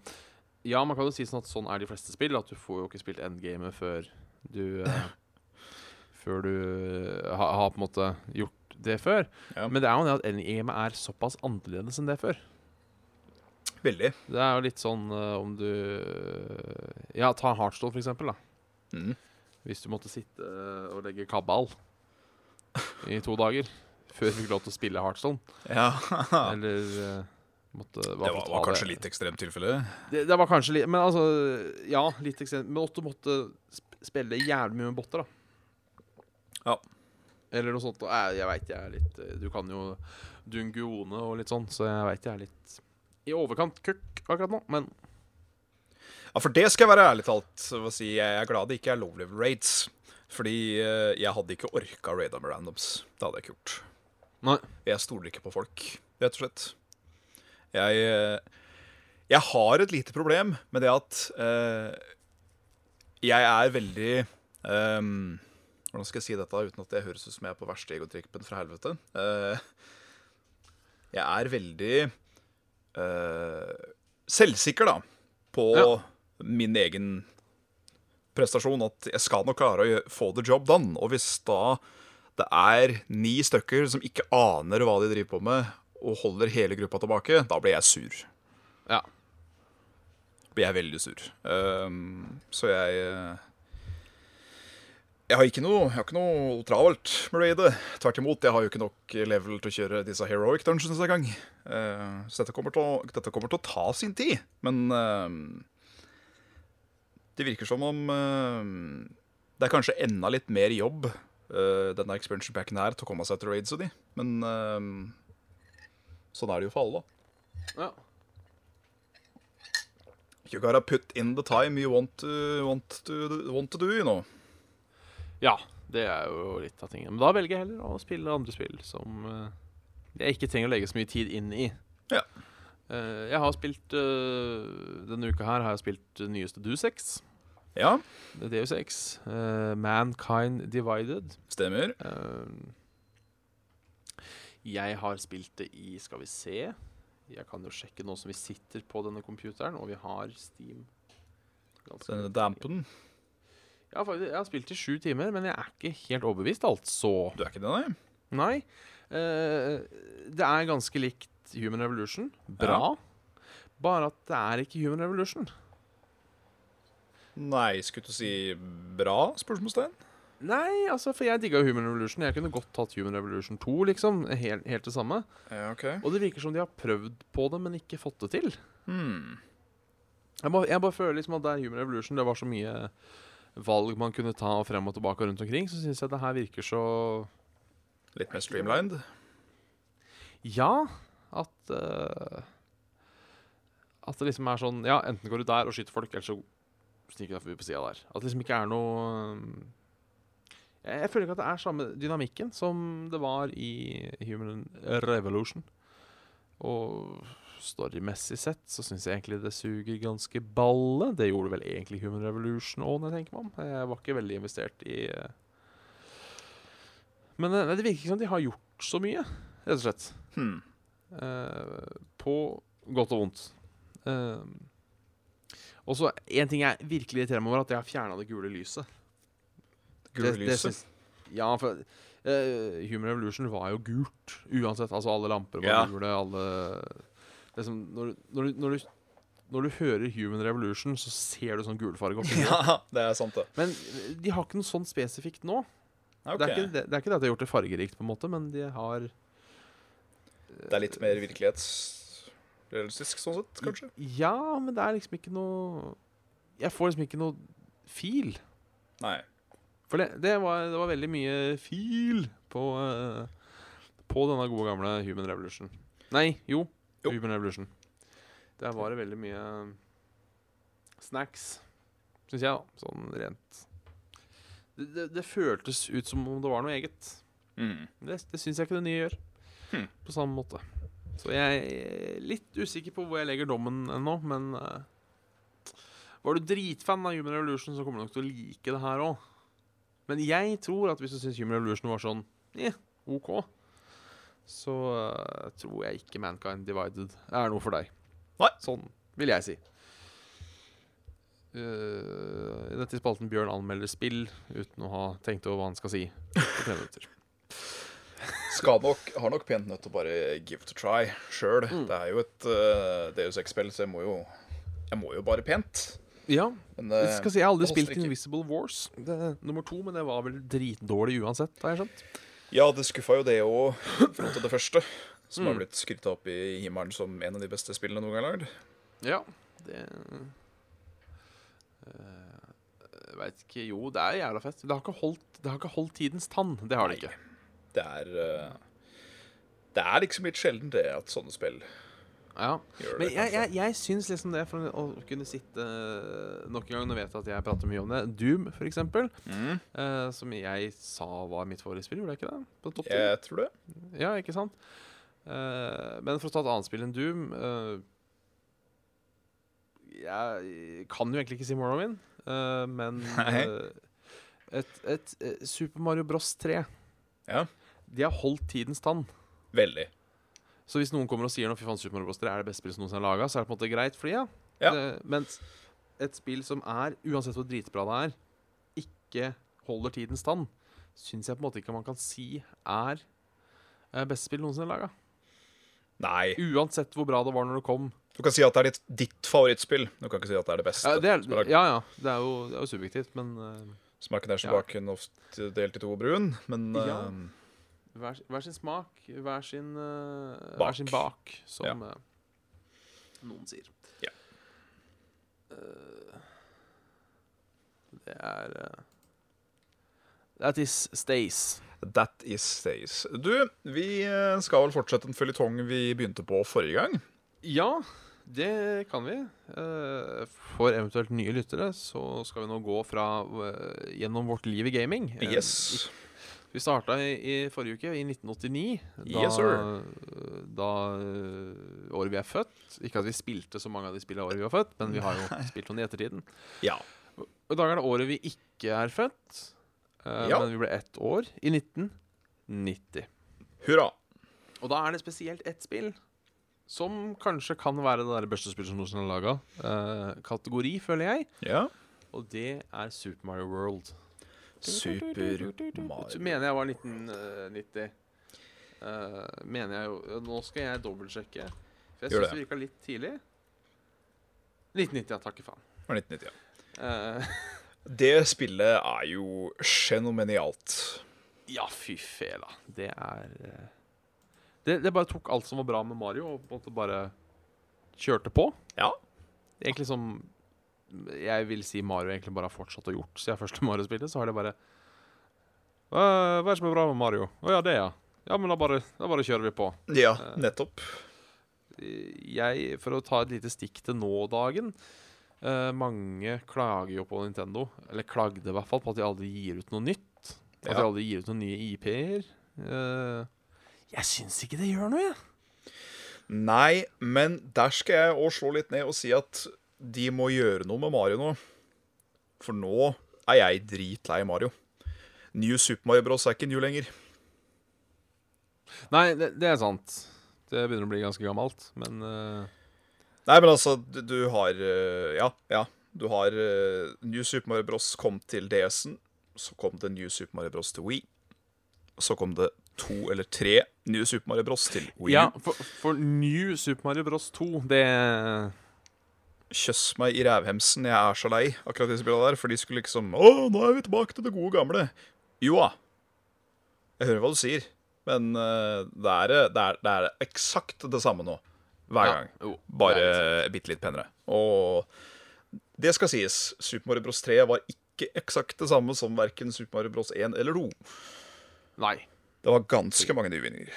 Ja, man kan jo si sånn at sånn er de fleste spill, at du får jo ikke spilt endgamet før du eh, Før du eh, har har på en måte gjort det før. Ja. Men det er jo det at endgamet er såpass annerledes enn det før. Veldig. Det er jo litt sånn eh, om du eh, Ja, ta Heartstall, for eksempel. da Mm. Hvis du måtte sitte eh, og legge kabal i to dager før du fikk lov til å spille Heartstone. Ja. Det Eller eh, måtte hva for var, å ta var kanskje litt ekstremt tilfelle. det, det var kanskje litt Men altså, ja, litt ekstremt. Men at du måtte sp- spille jævlig mye med botter, da. Ja. Eller noe sånt. og Jeg, jeg veit jeg er litt eh, Du kan jo dunguone og litt sånn, så jeg veit jeg er litt i overkant køkk akkurat nå, men Ja, for det skal jeg være ærlig talt å si. Jeg er glad det ikke er low level raids. Fordi eh, jeg hadde ikke orka raida med randoms. Det hadde jeg ikke gjort. Nei. Jeg stoler ikke på folk, rett og slett. Jeg eh, Jeg har et lite problem med det at eh, jeg er veldig ehm, Hvordan skal jeg si dette uten at det høres ut som jeg er på verste egotrippen fra helvete? Eh, jeg er veldig eh, selvsikker, da, på Ja. min egen prestasjon. At jeg skal nok klare å gjø- få the job done. Og hvis da det er ni stykker som ikke aner hva de driver på med, og holder hele gruppa tilbake, da blir jeg sur. Ja. Blir jeg veldig sur. Ehm, så jeg eh, Jeg har ikke noe, jeg har ikke noe travelt med raidet. Tvert imot, jeg har jo ikke nok level til å kjøre disse heroic dungeons engang. Uh, så dette kommer, til å, dette kommer til å ta sin tid. Men ehm, det virker som om ehm, det er kanskje enda litt mer jobb, eh, denne expansion packen her, til å komme seg til raids og de. Men ehm, sånn er det jo for alle, da. ja. You gotta put in the time you want to, want to, want to do, you know. Ja, det er jo litt av tingene. Men da velger jeg heller å spille andre spill som eh, jeg ikke trenger å legge så mye tid inn i. Ja. Eh, jeg har spilt eh, Denne uka her har jeg spilt det nyeste Dusex. Ja, Deus Ex. eh, Mankind Divided. stemmer. Eh, jeg har spilt det i Skal vi se Jeg kan jo sjekke nå som vi sitter på denne computeren, og vi har Steam. Ganske Denne dampen. Jeg har, faktisk, jeg har spilt i sju timer, men jeg er ikke helt overbevist, altså. Du er ikke det, nei? Nei. eh, det er ganske likt Human Revolution. Bra. Bare at det er ikke Human Revolution. Nei, skulle du si bra? Spørsmålstegn. Nei, altså, for jeg digga Human Revolution. Jeg kunne godt tatt Human Revolution 2, liksom. Helt, helt det samme. Ja, ok. Og det virker som de har prøvd på det, men ikke fått det til. Hmm. Jeg bare, jeg bare føler liksom at der Human Revolution det var så mye valg man kunne ta frem og tilbake og rundt omkring, så syns jeg det her virker så Litt mer streamlined. Ja, at eh, At det liksom er sånn Ja, enten går du der og skyter folk, eller så sniker du deg forbi på sida der. At det liksom ikke er noe eh, Jeg, jeg føler ikke at det er samme dynamikken som det var i Human Revolution. Og storymessig sett så syns jeg egentlig det suger ganske balle. Det gjorde vel egentlig Human Revolution òg, når jeg tenker meg om. Jeg var ikke veldig investert i eh. Men eh, nei, det virker ikke som de har gjort så mye, rett og slett. Hmm. Eh, på godt og vondt. Eh, og så en ting jeg virkelig irriterer meg over, er at jeg har fjerna det gule lyset. Gule Det- det lyset. syns- ja, for eh, Human Revolution var jo gult uansett. Altså alle lamper var Ja. gule, alle det som, når, du- når, du- når, du, når du hører Human Revolution, så ser du sånn gulfarge opp. ja, det er sant, det. Men de har ikke noe sånn spesifikt nå. Det, er Ok. ikke, det, det er ikke det at de har gjort det fargerikt, på en måte, men de har eh, Det er litt mer virkelighetsrealistisk sånn Mm. sett, kanskje? Ja, men det er liksom ikke noe Jeg får liksom ikke noe feel. Nei. For det, det, var, det var veldig mye fil på, eh, på denne gode gamle Human Revolution. Nei, jo, Jo. Human Revolution. Der var det veldig mye eh, snacks, syns jeg, da. Sånn rent det, det, det føltes ut som om det var noe eget. Mm. Det, det syns jeg ikke det nye gjør. Hmm. På samme måte. Så jeg er litt usikker på hvor jeg legger dommen ennå, men eh, Var du dritfan av Human Revolution, så kommer du nok til å like det her òg. Men jeg tror at hvis du syns Human Revolution var sånn eh, OK, så eh, tror jeg ikke Mankind Divided er noe for deg. Nei. Sånn vil jeg si. Eh, I dette spalten Bjørn anmelder spill uten å ha tenkt over hva han skal si på tre minutter. Skal nok, har nok pent nødt til å bare give it a try sjøl. Mm. Det er jo et uh, Deus Ex-spill, så jeg må jo Jeg må jo bare pent. Ja, Men Jeg eh, skal si, jeg har aldri det spilt holder ikke. Invisible Wars. Det er nummer to, men det var vel dritdårlig uansett. har jeg skjønt ja, det skuffa jo det òg, frem til det første. Som Mm. har blitt skryta opp i himmelen som en av de beste spillene noen gang lagd. Ja, det Eh, Jeg Veit ikke Jo, det er jævla fett. Det har ikke holdt, det har ikke holdt tidens tann. Det har det Nei. ikke. Det er eh, Det er liksom litt sjelden det at sånne spill Ja. gjør det. Men jeg, kanskje. jeg, jeg syns liksom det, for å kunne sitte nok en gang Nå vet jeg at jeg prater mye om det. Doom, for eksempel, Mm. eh, som jeg sa var mitt favorittspill, gjorde jeg ikke det? På topp ti? jeg tror det. Ja, ikke sant? Eh, men for å ta et annet spill enn Doom eh, Jeg kan jo egentlig ikke si Morrowind, eh, men Nei. eh, et, et, eh, Super Mario Bros 3 Ja. De har holdt tidens tann. Veldig. Så hvis noen kommer og sier noe, fy faen, Super Mario Bros 3 er det beste spillet som noensinne er laga, så er det på en måte greit for de, ja. Ja. Det- mens et spill som er, uansett hvor dritbra det er, ikke holder tidens tann, syns jeg på en måte ikke man kan si er eh, beste spill noensinne laga. Nei. Uansett hvor bra det var når det kom. Du kan si at det er ditt, ditt favorittspill. Du kan ikke si at det er det beste. Ja, det er, som er lagd. ja, ja. Det er jo, det er jo subjektivt, men eh, Smaken er som Ja. baken, ofte delt i to og brun, men Ja. eh, hver, hver sin smak, hver sin, eh, Bak. Hver sin bak, som Ja. eh, noen sier. Ja. Eh, det er eh, That is stays. that is stays. Du, vi eh, skal vel fortsette en føljetong vi begynte på forrige gang. Ja, det kan vi. Eh, for eventuelt nye lyttere så skal vi nå gå fra eh, gjennom vårt liv i gaming. Eh, Yes. Vi starta i, i forrige uke, i 1989. Da, Yes, sir. eh, da eh, året vi er født. Ikke at vi spilte så mange av de spillene året vi var født, men vi har jo spilt noen i ettertiden. Ja. Og I dag er det året vi ikke er født, eh, Ja. men vi ble ett år, i 1990. Hurra. Og da er det spesielt ett spill som kanskje kan være det der beste spillet som noensinne er laga. kategori, føler jeg. Ja. Og det er Super Mario World. Super Så Mario. Mener jeg var 1990. Eh, mener jeg jo Nå skal jeg dobbeltsjekke. For jeg Gjør syns det. det virka litt tidlig. 1990, ja. Takke faen. Fra 1990, ja. Eh, Det spillet er jo fenomenalt. ja, fy fela. Det er eh, det, det bare tok alt som var bra med Mario, og på en måte bare kjørte på. Ja. Det er Egentlig som Jeg vil si Mario egentlig bare har fortsatt og gjort siden første Mario-spillet. Så har det bare «Øh, Hva er det som er bra med Mario? Å ja, det, ja. Ja, men da bare, da bare kjører vi på. Ja, nettopp. jeg, for å ta et lite stikk til nå-dagen eh, Mange klager jo på Nintendo, eller klagde i hvert fall, på at de aldri gir ut noe nytt. At Ja. jeg aldri gir ut noen nye IP-er. Eh, jeg syns ikke det gjør noe, jeg. Nei, men der skal jeg òg slå litt ned og si at de må gjøre noe med Mario nå. For nå er jeg dritlei Mario. New Super Mario Bros er ikke new lenger. Nei, det, det er sant. Det begynner å bli ganske gammelt, men eh, Nei, men altså, du, du har eh, Ja, ja. Du har eh, New Super Mario Bros kom til DS-en. Så kom det New Super Mario Bros til Wii. Så kom det to eller tre New Super Mario Bros til Wii. Ja, for, for New Super Mario Bros 2, det Kjøss meg i rævhemsen, jeg er så lei akkurat de spillene der. For de skulle liksom Å, nå er vi tilbake til det gode gamle. Jo da. Jeg hører hva du sier, men eh, det, er, det, er, det er eksakt det samme nå. Hver Ja, Oh, gang. jo, det er litt Bare bitte litt penere. Og det skal sies, Super Mario Bros 3 var ikke eksakt det samme som verken Super Mario Bros 1 eller 2. sant. Nei. Det var ganske mange nyvinninger.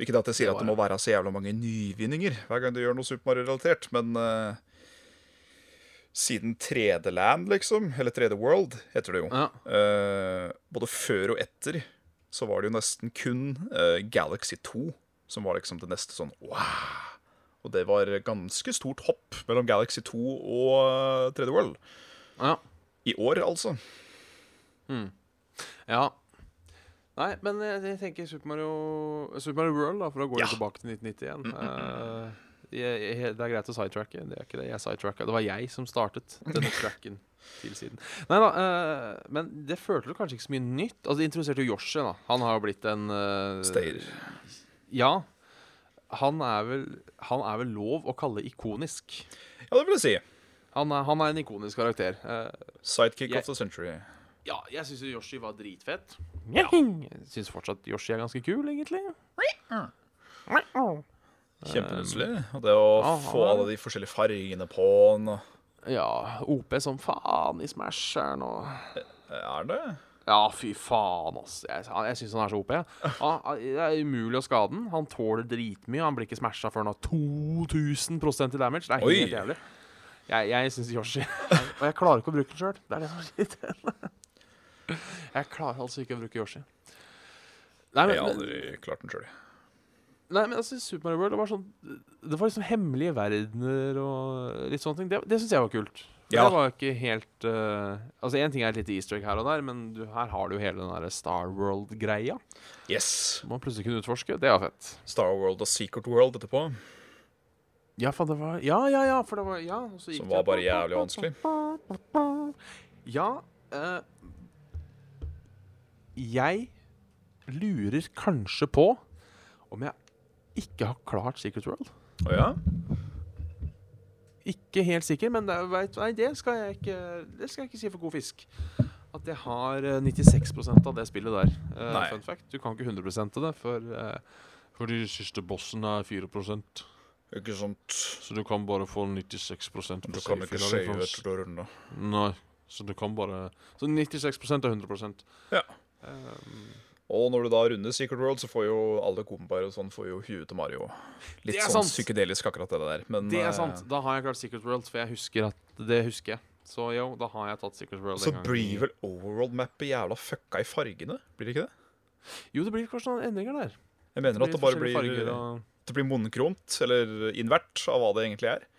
Ikke at jeg sier Det at var det må være så jævla mange nyvinninger hver gang du gjør noe Super Mario-relatert, men eh, siden 3D-land, liksom, eller 3D-world, heter det jo Ja. eh, Både før og etter så var det jo nesten kun eh, Galaxy 2 som var liksom det neste sånn wow. Og det var ganske stort hopp mellom Galaxy 2 og eh, 3D World. Ja. I år, altså. Eh. ja. Nei, men jeg, jeg tenker Super Mario Super Mario World, da, for å gå litt Ja. Mm, tilbake til 1991. Eh, jeg, jeg, det er greit å sidetracke. Det er ikke det. Jeg sidetracka. Det var jeg som startet denne tracken til siden. Nei da, eh, men det følte du kanskje ikke så mye nytt. Altså, De introduserte jo Yoshi, da. Han har jo blitt en eh, Stayer. Ja. Han er, vel, han er vel lov å kalle ikonisk. Ja, det vil jeg si. Han er, han er en ikonisk karakter. Eh, Sidekick Jeg- of the century. ja, jeg syns jo Yoshi var dritfett. Ja. Jeg syns fortsatt Yoshi er ganske kul, egentlig. Kjempemuskelig. Ehm, Og det å ja, få han er- alle de forskjellige fargene på han og Ja, OP som faen i Smash er nå Er det? Ja, fy faen, ass. Jeg, han- jeg syns han er så OP. jeg. Han- han- Det er umulig å skade han. Han tåler dritmye. Han blir ikke smasha før han har 2000 i damage. Det er helt Oi. jævlig. Jeg, jeg syns Yoshi Og jeg klarer ikke å bruke den sjøl. Det er det som er irriterende. Jeg klarer altså ikke å bruke Yoshi. Nei, Jeg men, har men, aldri klart den sjøl. Nei, men altså, Super Mario World det var sånn Det var liksom hemmelige verdener og litt sånne ting. Det, det syns jeg var kult. For Ja. Det var ikke helt eh, Altså, én ting er et lite easter egg her og der, men du, her har du jo hele den der Star World-greia. Yes! Som man plutselig kunne utforske. Det var fett. Star World og Secret World etterpå. Ja, for det var Ja, ja, ja, for det var Ja, og så gikk Som det- var bare jævlig vanskelig. Ja eh, Jeg lurer kanskje på om jeg ikke har klart Secret World. Å ja? Ikke helt sikker, men det, er- vet, nei, det, skal jeg ikke, det skal jeg ikke si for god fisk. At jeg har eh, 96 av det spillet der. Eh, Nei. fun fact, du kan ikke 100 til det, for, eh, for de siste bossen er 4 Ikke sant? Så du kan bare få 96 på Du kan ikke shave etter du har runda. Nei, så du kan bare Så 96 er 100 Ja. Um, Og når du da runder Secret World, så får jo alle kompiser og sånn får jo huet til Mario. Det Litt er sånn sant. psykedelisk akkurat det der. Men det eh, er sant. Da har jeg klart Secret World, for jeg husker at det husker jeg. Så jo, da har jeg tatt Secret World. Så en gang. blir vel overworld-mappet jævla fucka i fargene? Blir det ikke det? Jo, det blir kanskje noen endringer der. Jeg mener at det bare forskjellige blir, farger og det blir monokromt, eller invert, av hva det egentlig er.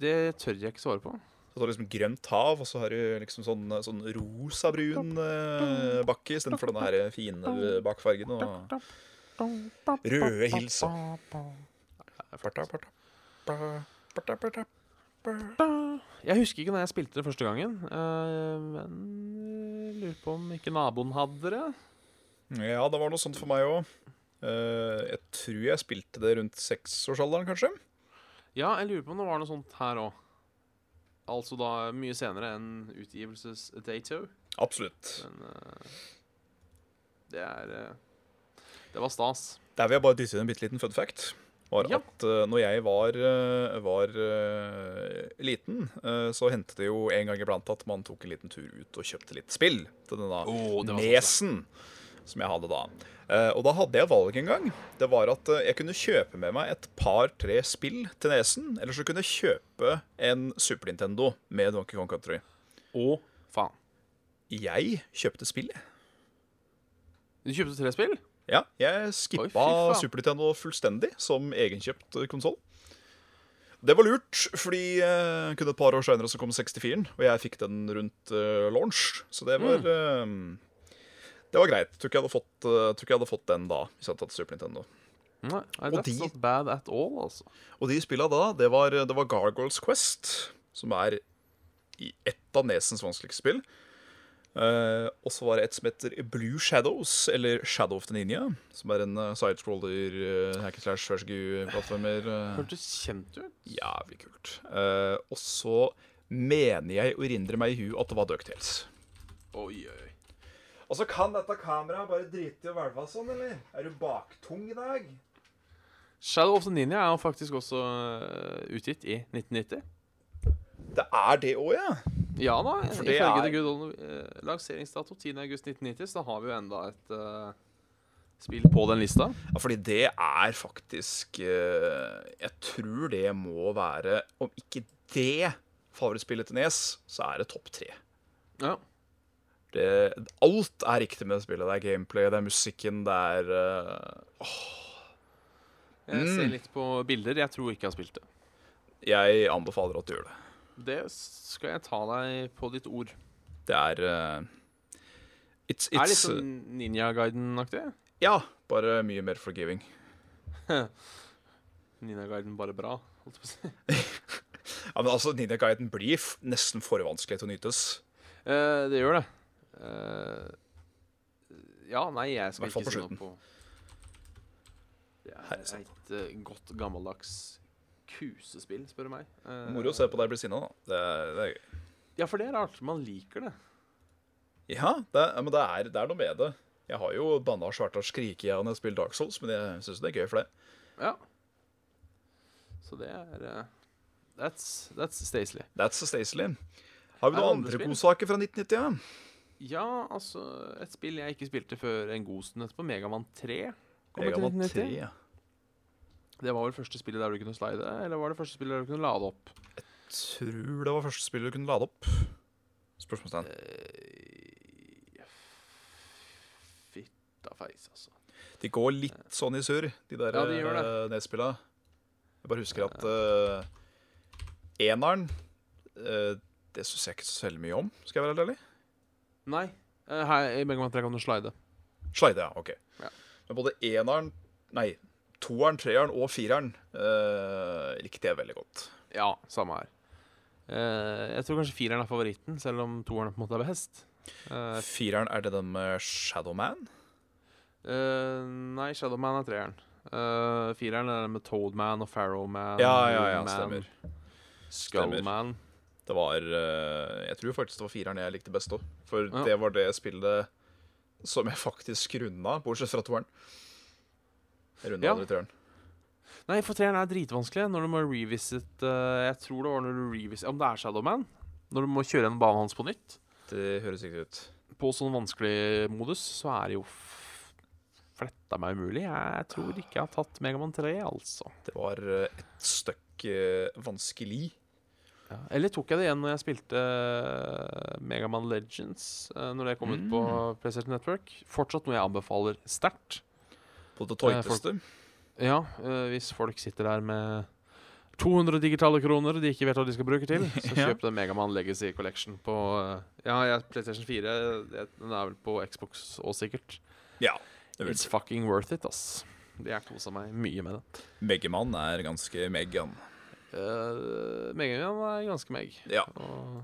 Det tør jeg ikke svare på. Så du har liksom grønt hav, og så har du liksom sånn, sånn rosa-brun eh, bakke istedenfor den her fine bakfargen. Og røde hilser. Parta, parta, pa, parta, parta, pa. Jeg husker ikke når jeg spilte det første gangen, eh, men jeg lurer på om ikke naboen hadde det. Ja, det var noe sånt for meg òg. jeg tror jeg spilte det rundt seksårsalderen, kanskje. Ja, jeg lurer på om det var noe sånt her òg. Altså da mye senere enn utgivelsesdato. Absolutt. Men eh, det er eh, Det var stas. Der vil jeg bare dytte inn en bitte liten fun fact. Var Ja. at eh, når jeg var, eh, var eh, liten, eh, så hendte det jo en gang iblant at man tok en liten tur ut og kjøpte litt spill til denne Oh, nesen som jeg hadde da. Eh, og da hadde jeg valg en gang. Det var at eh, jeg kunne kjøpe med meg et par-tre spill til nesen, eller så kunne jeg kjøpe en Super Nintendo med Donkey Kong Country. Å, faen. Jeg kjøpte spill, jeg. Du kjøpte tre spill? Ja, jeg Oi, fy skippa faen. Super Nintendo fullstendig som egenkjøpt konsoll. Det var lurt, fordi eh, kun et par år seinere kom 64-en, og jeg fikk den rundt eh, launch. Så det var Mm. eh, Det var greit. Tror ikke jeg hadde fått, eh, tror ikke jeg hadde fått den da. Hvis jeg hadde tatt Super Nintendo Nei, nei, Og that's de- not bad at all, altså. Og de spilla da, det var, det var Gargoyles Quest, som er i ett av Nesens vanskeligste spill. Eh, og så var det et som heter Blue Shadows, eller Shadow of the Ninja. Som er en eh, sidescroller, uh, hack and slash, versgu-plattformer. eh, Hørtes kjent ut. jævlig kult. Eh, og så mener jeg å erindre meg i hu at det var Ducktails. Oi, oi, oi. Og så kan dette kameraet bare drite i å hvelve sånn, eller? Er du baktung i dag? Shadow of the Ninja er jo faktisk også eh, utgitt i 1990. Det er det òg, ja. Ja da, For det ifølge er- The Good Old eh, lanseringsdato 10.8.1990, så da har vi jo enda et eh, spill på den lista. Ja, fordi det er faktisk eh, Jeg tror det må være Om ikke det favorittspillet til Nes, så er det topp tre. Ja. Det, alt er riktig med det spillet. Det er gameplay, det er musikken, det er eh, Jeg ser Mm. litt på bilder. Jeg tror ikke jeg har spilt det. Jeg anbefaler at du gjør det. Det skal jeg ta deg på ditt ord. Det er eh, It's, er det litt it's eh, sånn Ninja Guiden-aktig? Ja, bare mye mer forgiving. Ninja Guiden bare bra, holdt jeg på å si. Ja, men altså, Ninja Guiden blir f nesten for vanskelig til å nytes. Eh, det gjør det. Eh, ja, nei, jeg skal Hvert fall ikke på si noe slutten. på Det er Herre sant. et eh, godt, gammeldags kusespill, spør du meg. Eh, Moro å se på deg bli sinna, da. Det, er- det er gøy. Ja, for det er rart. Man liker det. Ja, det, ja, men det er, det er noe med det. Jeg har jo banna svært og skrike jeg når jeg spiller Dark Souls, men jeg syns det er gøy for det. Ja. Så det er eh, That's, that's Stacey. That's Stacely. Har Er vi det noen andre andre spill? godsaker fra 1990? Ja? Ja, altså Et spill jeg ikke spilte før en god stund etterpå, Megaman 3. kom ut i Jeg var 1990. tre. ja. Det var vel første spillet der du kunne slide, eller var det første spillet der du kunne lade opp? Tror det var første spill du kunne lade opp. Spørsmålstegn. Eh, Fitta feis, altså. De går litt sånn i surr, de der Ja, de gjør det. eh, nedspilla. Jeg bare husker at eh, eneren eh, Det syns jeg ikke så veldig mye om, skal jeg være helt ærlig. Nei. eh, Her i Megaman 3 kan du slide. Slide, ja. OK. Ja. Men både eneren Nei, toeren, treeren og fireren eh, likte jeg veldig godt. Ja, samme her. Eh, jeg tror kanskje fireren er favoritten, selv om toeren på en måte er best. Eh, Fireren, er det den med Shadowman? eh, nei, Shadowman er treeren. Eh, fireren er den med Toadman og Farrowman. Ja, ja, ja, Man, stemmer. Skullman. Det var eh, Jeg tror faktisk det var fireren jeg likte best òg. For Ja. det var det spillet som jeg faktisk runda, bortsett fra toeren. Jeg runda Ja. aldri treeren. Nei, for treeren er dritvanskelig når du må revisit eh, Jeg tror det var når du revisit Om det er Shadowman, når du må kjøre gjennom banen hans på nytt. Det høres riktig ut. på sånn vanskelig modus, så er det jo f- fletta meg umulig. Jeg tror ikke jeg har tatt Megaman 3, altså. Det var eh, et støkk eh, vanskelig. Eller tok jeg det igjen når jeg spilte Megaman Legends, eh, når det kom ut på PlayStation Network. Fortsatt noe jeg anbefaler sterkt. På det Eh, tøyteste. Ja, eh, hvis folk sitter der med 200 digitale kroner de ikke vet hva de skal bruke til, så Ja. kjøp den Megaman Legacy Collection på eh, Ja, jeg, PlayStation 4. jeg- Den er vel på Xbox òg, sikkert. Ja. det vil It's si. fucking worth it, ass. Jeg kosa meg mye med det. Megaman er ganske megan. Uh, Megaman er ganske meg. Ja. Og...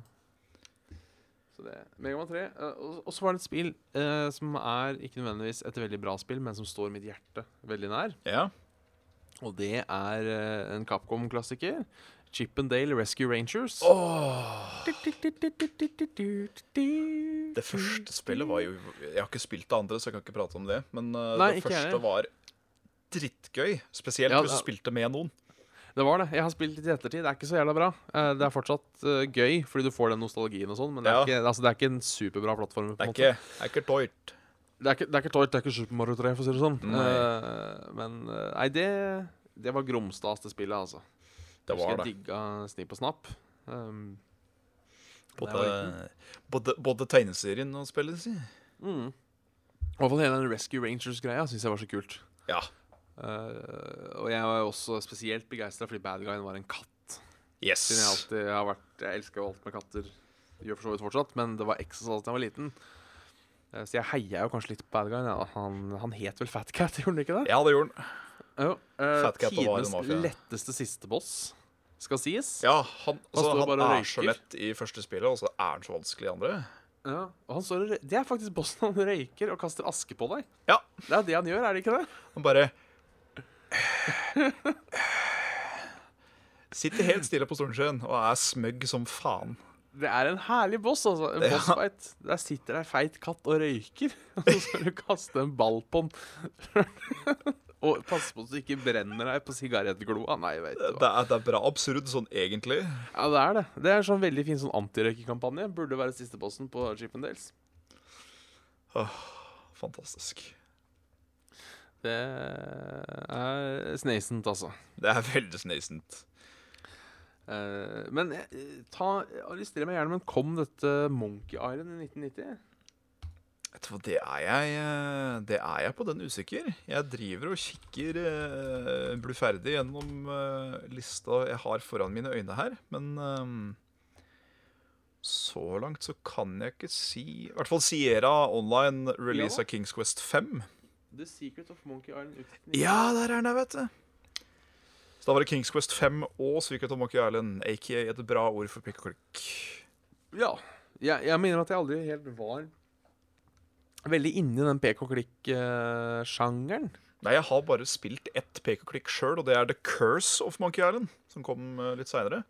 Så det Megaman 3. eh, og, og så var det et spill eh, som er ikke nødvendigvis et veldig bra spill, men som står mitt hjerte veldig nær. ja. Og det er eh, en Capcom-klassiker. Chip and Dale Rescue Rangers. Det første spillet var jo Jeg har ikke spilt det andre, så jeg kan ikke prate om det. Men eh, Nei, det ikke jeg første heller. var drittgøy. Spesielt Ja, hvis du det- spilte med noen. Det var det. Jeg har spilt litt i ettertid. Det er ikke så jævla bra. Eh, det er fortsatt eh, gøy, fordi du får den nostalgien og sånn, men det er, Ja. ikke, altså, det er ikke en superbra plattform. på en Det er måte. ikke, det er ikke tøyt. Det er ikke, det er ikke Toy, det er ikke Super Mario 3, for å si det sånn. Nei. Eh, men eh, nei, det, det var gromstas, det spillet, altså. Det Husker var det. Jeg digga Snipp og Snapp. Um, Både, både, både tegneserien og spillet, si. Mm. I hvert fall hele den Rescue Rangers-greia syns jeg var så kult. Ja. Eh, og jeg var jo også spesielt begeistra fordi bad guyen var en katt. Yes. Siden jeg alltid har vært Jeg elsker jo alt med katter. Gjør for så vidt fortsatt, men det var ekstra sånn da jeg var liten. Eh, Så jeg heia jo kanskje litt på bad guyen. Ja. Han, han het vel Fat Cat, gjorde han ikke det? Ja, det gjorde han. Jo. Eh, Fat Cat og Mario tidenes Mafia. letteste siste boss, skal sies. Ja, han, altså, står han bare og er så røyker. lett i første spillet, og så er han så vanskelig i andre. Ja, og han står og røy- Det er faktisk bossen. Han røyker og kaster aske på deg. Ja, Det er det han gjør, er det ikke det? han bare Sitter helt stille på stolen sin og er smøgg som faen. Det er en herlig boss, altså. En Ja. bossfight. Der sitter det ei feit katt og røyker, og så skal du kaste en ball på den. og passe på så du ikke brenner deg på sigarettgloa. Nei, veit du hva. Det er, det er bra absurd sånn egentlig. Ja, det er det. Det er en sånn veldig fin sånn antirøykekampanje. Burde være siste bossen på Chippendales. Fantastisk. Det er sneisent, altså. Det er veldig sneisent. Eh, Men eh, ta, arrester meg gjerne, men kom dette Monkey Island i 1990? Vet du hva, det er jeg eh, Det er jeg på den usikker. Jeg driver og kikker eh, bluferdig gjennom eh, lista jeg har foran mine øyne her, men eh, så langt så kan jeg ikke si I hvert fall Sierra Online release Ja. av Kings Quest 5. The Secret of Monkey Island ut Ja, der er den, jeg, vet du. Så da var det Kings Quest 5 og Secret of Monkey Island, aka et bra ord for pikk og klikk. Ja. Jeg, jeg mener at jeg aldri helt var veldig inne i den pk-klikk-sjangeren. Nei, jeg har bare spilt ett pek og klikk sjøl, og det er The Curse of Monkey Island, som kom eh, litt seinere.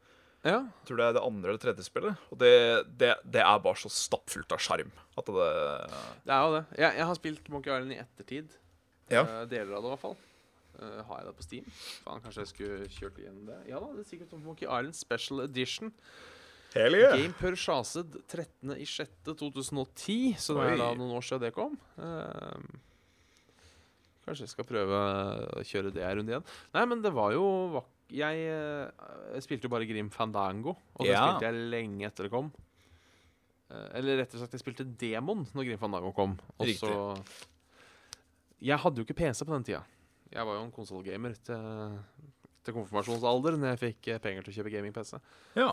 Ja. Jeg tror det er det andre eller tredje spillet. Og det, det, det er bare så stappfullt av sjarm at det Det er jo det. Jeg, jeg har spilt Monkey Island i ettertid. Ja. Eh, deler av det, i hvert fall. Eh, har jeg det på Steam? Faen, kanskje jeg skulle kjørt igjennom det. Ja da, det er sikkert som Monkey Island Special Edition. Hell Game per Shazed 13.06.2010, så det Oi. er da noen år siden det kom. Ehm, kanskje jeg skal prøve å kjøre det en runde igjen. Nei, men det var jo vak Jeg eh, spilte jo bare Grim Fandango, og det Ja. spilte jeg lenge etter det kom. Eh, eller rettere sagt, jeg spilte Demon når Grim Fandango kom. Og så Jeg hadde jo ikke PC på den tida. Jeg var jo en konsollgamer til, til konfirmasjonsalder når jeg fikk eh, penger til å kjøpe gaming-PC. Ja.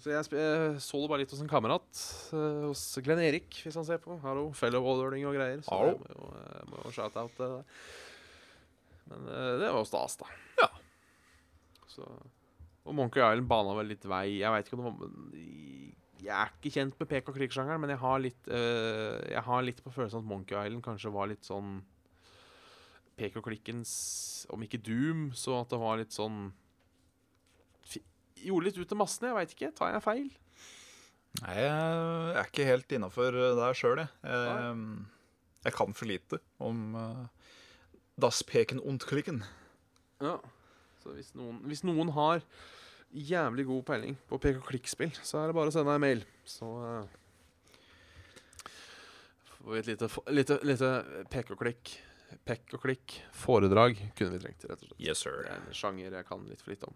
Så jeg sp- eh, så det bare litt hos en kamerat, eh, hos Glenn Erik, hvis han ser på. Hallo, fellow olderding og greier. Så Hallo. det må jo, eh, må jo shout-out det der. Men eh, det var jo stas, da. Ja. Så, og Monkey Island bana vel litt vei. Jeg vet ikke om det var men i- Jeg er ikke kjent med pek og klikk-sjangeren, men jeg har, litt, eh, jeg har litt på følelsen at Monkey Island kanskje var litt sånn pek og klikkens Om ikke Doom, så at det var litt sånn fi- Gjorde litt ut til massene, jeg veit ikke. Tar jeg feil? Nei, jeg er ikke helt innafor der sjøl, jeg. jeg. Jeg kan for lite om eh, Das Peken und Klicken. Ja. Så hvis noen, hvis noen har jævlig god peiling på pek-og-klikk-spill, så er det bare å sende en mail. Så eh, får vi et lite, fo- lite, lite pek-og-klikk Pek-og-klikk-foredrag kunne vi trengt, rett og slett. Yes, Det er en sjanger jeg kan litt for lite om.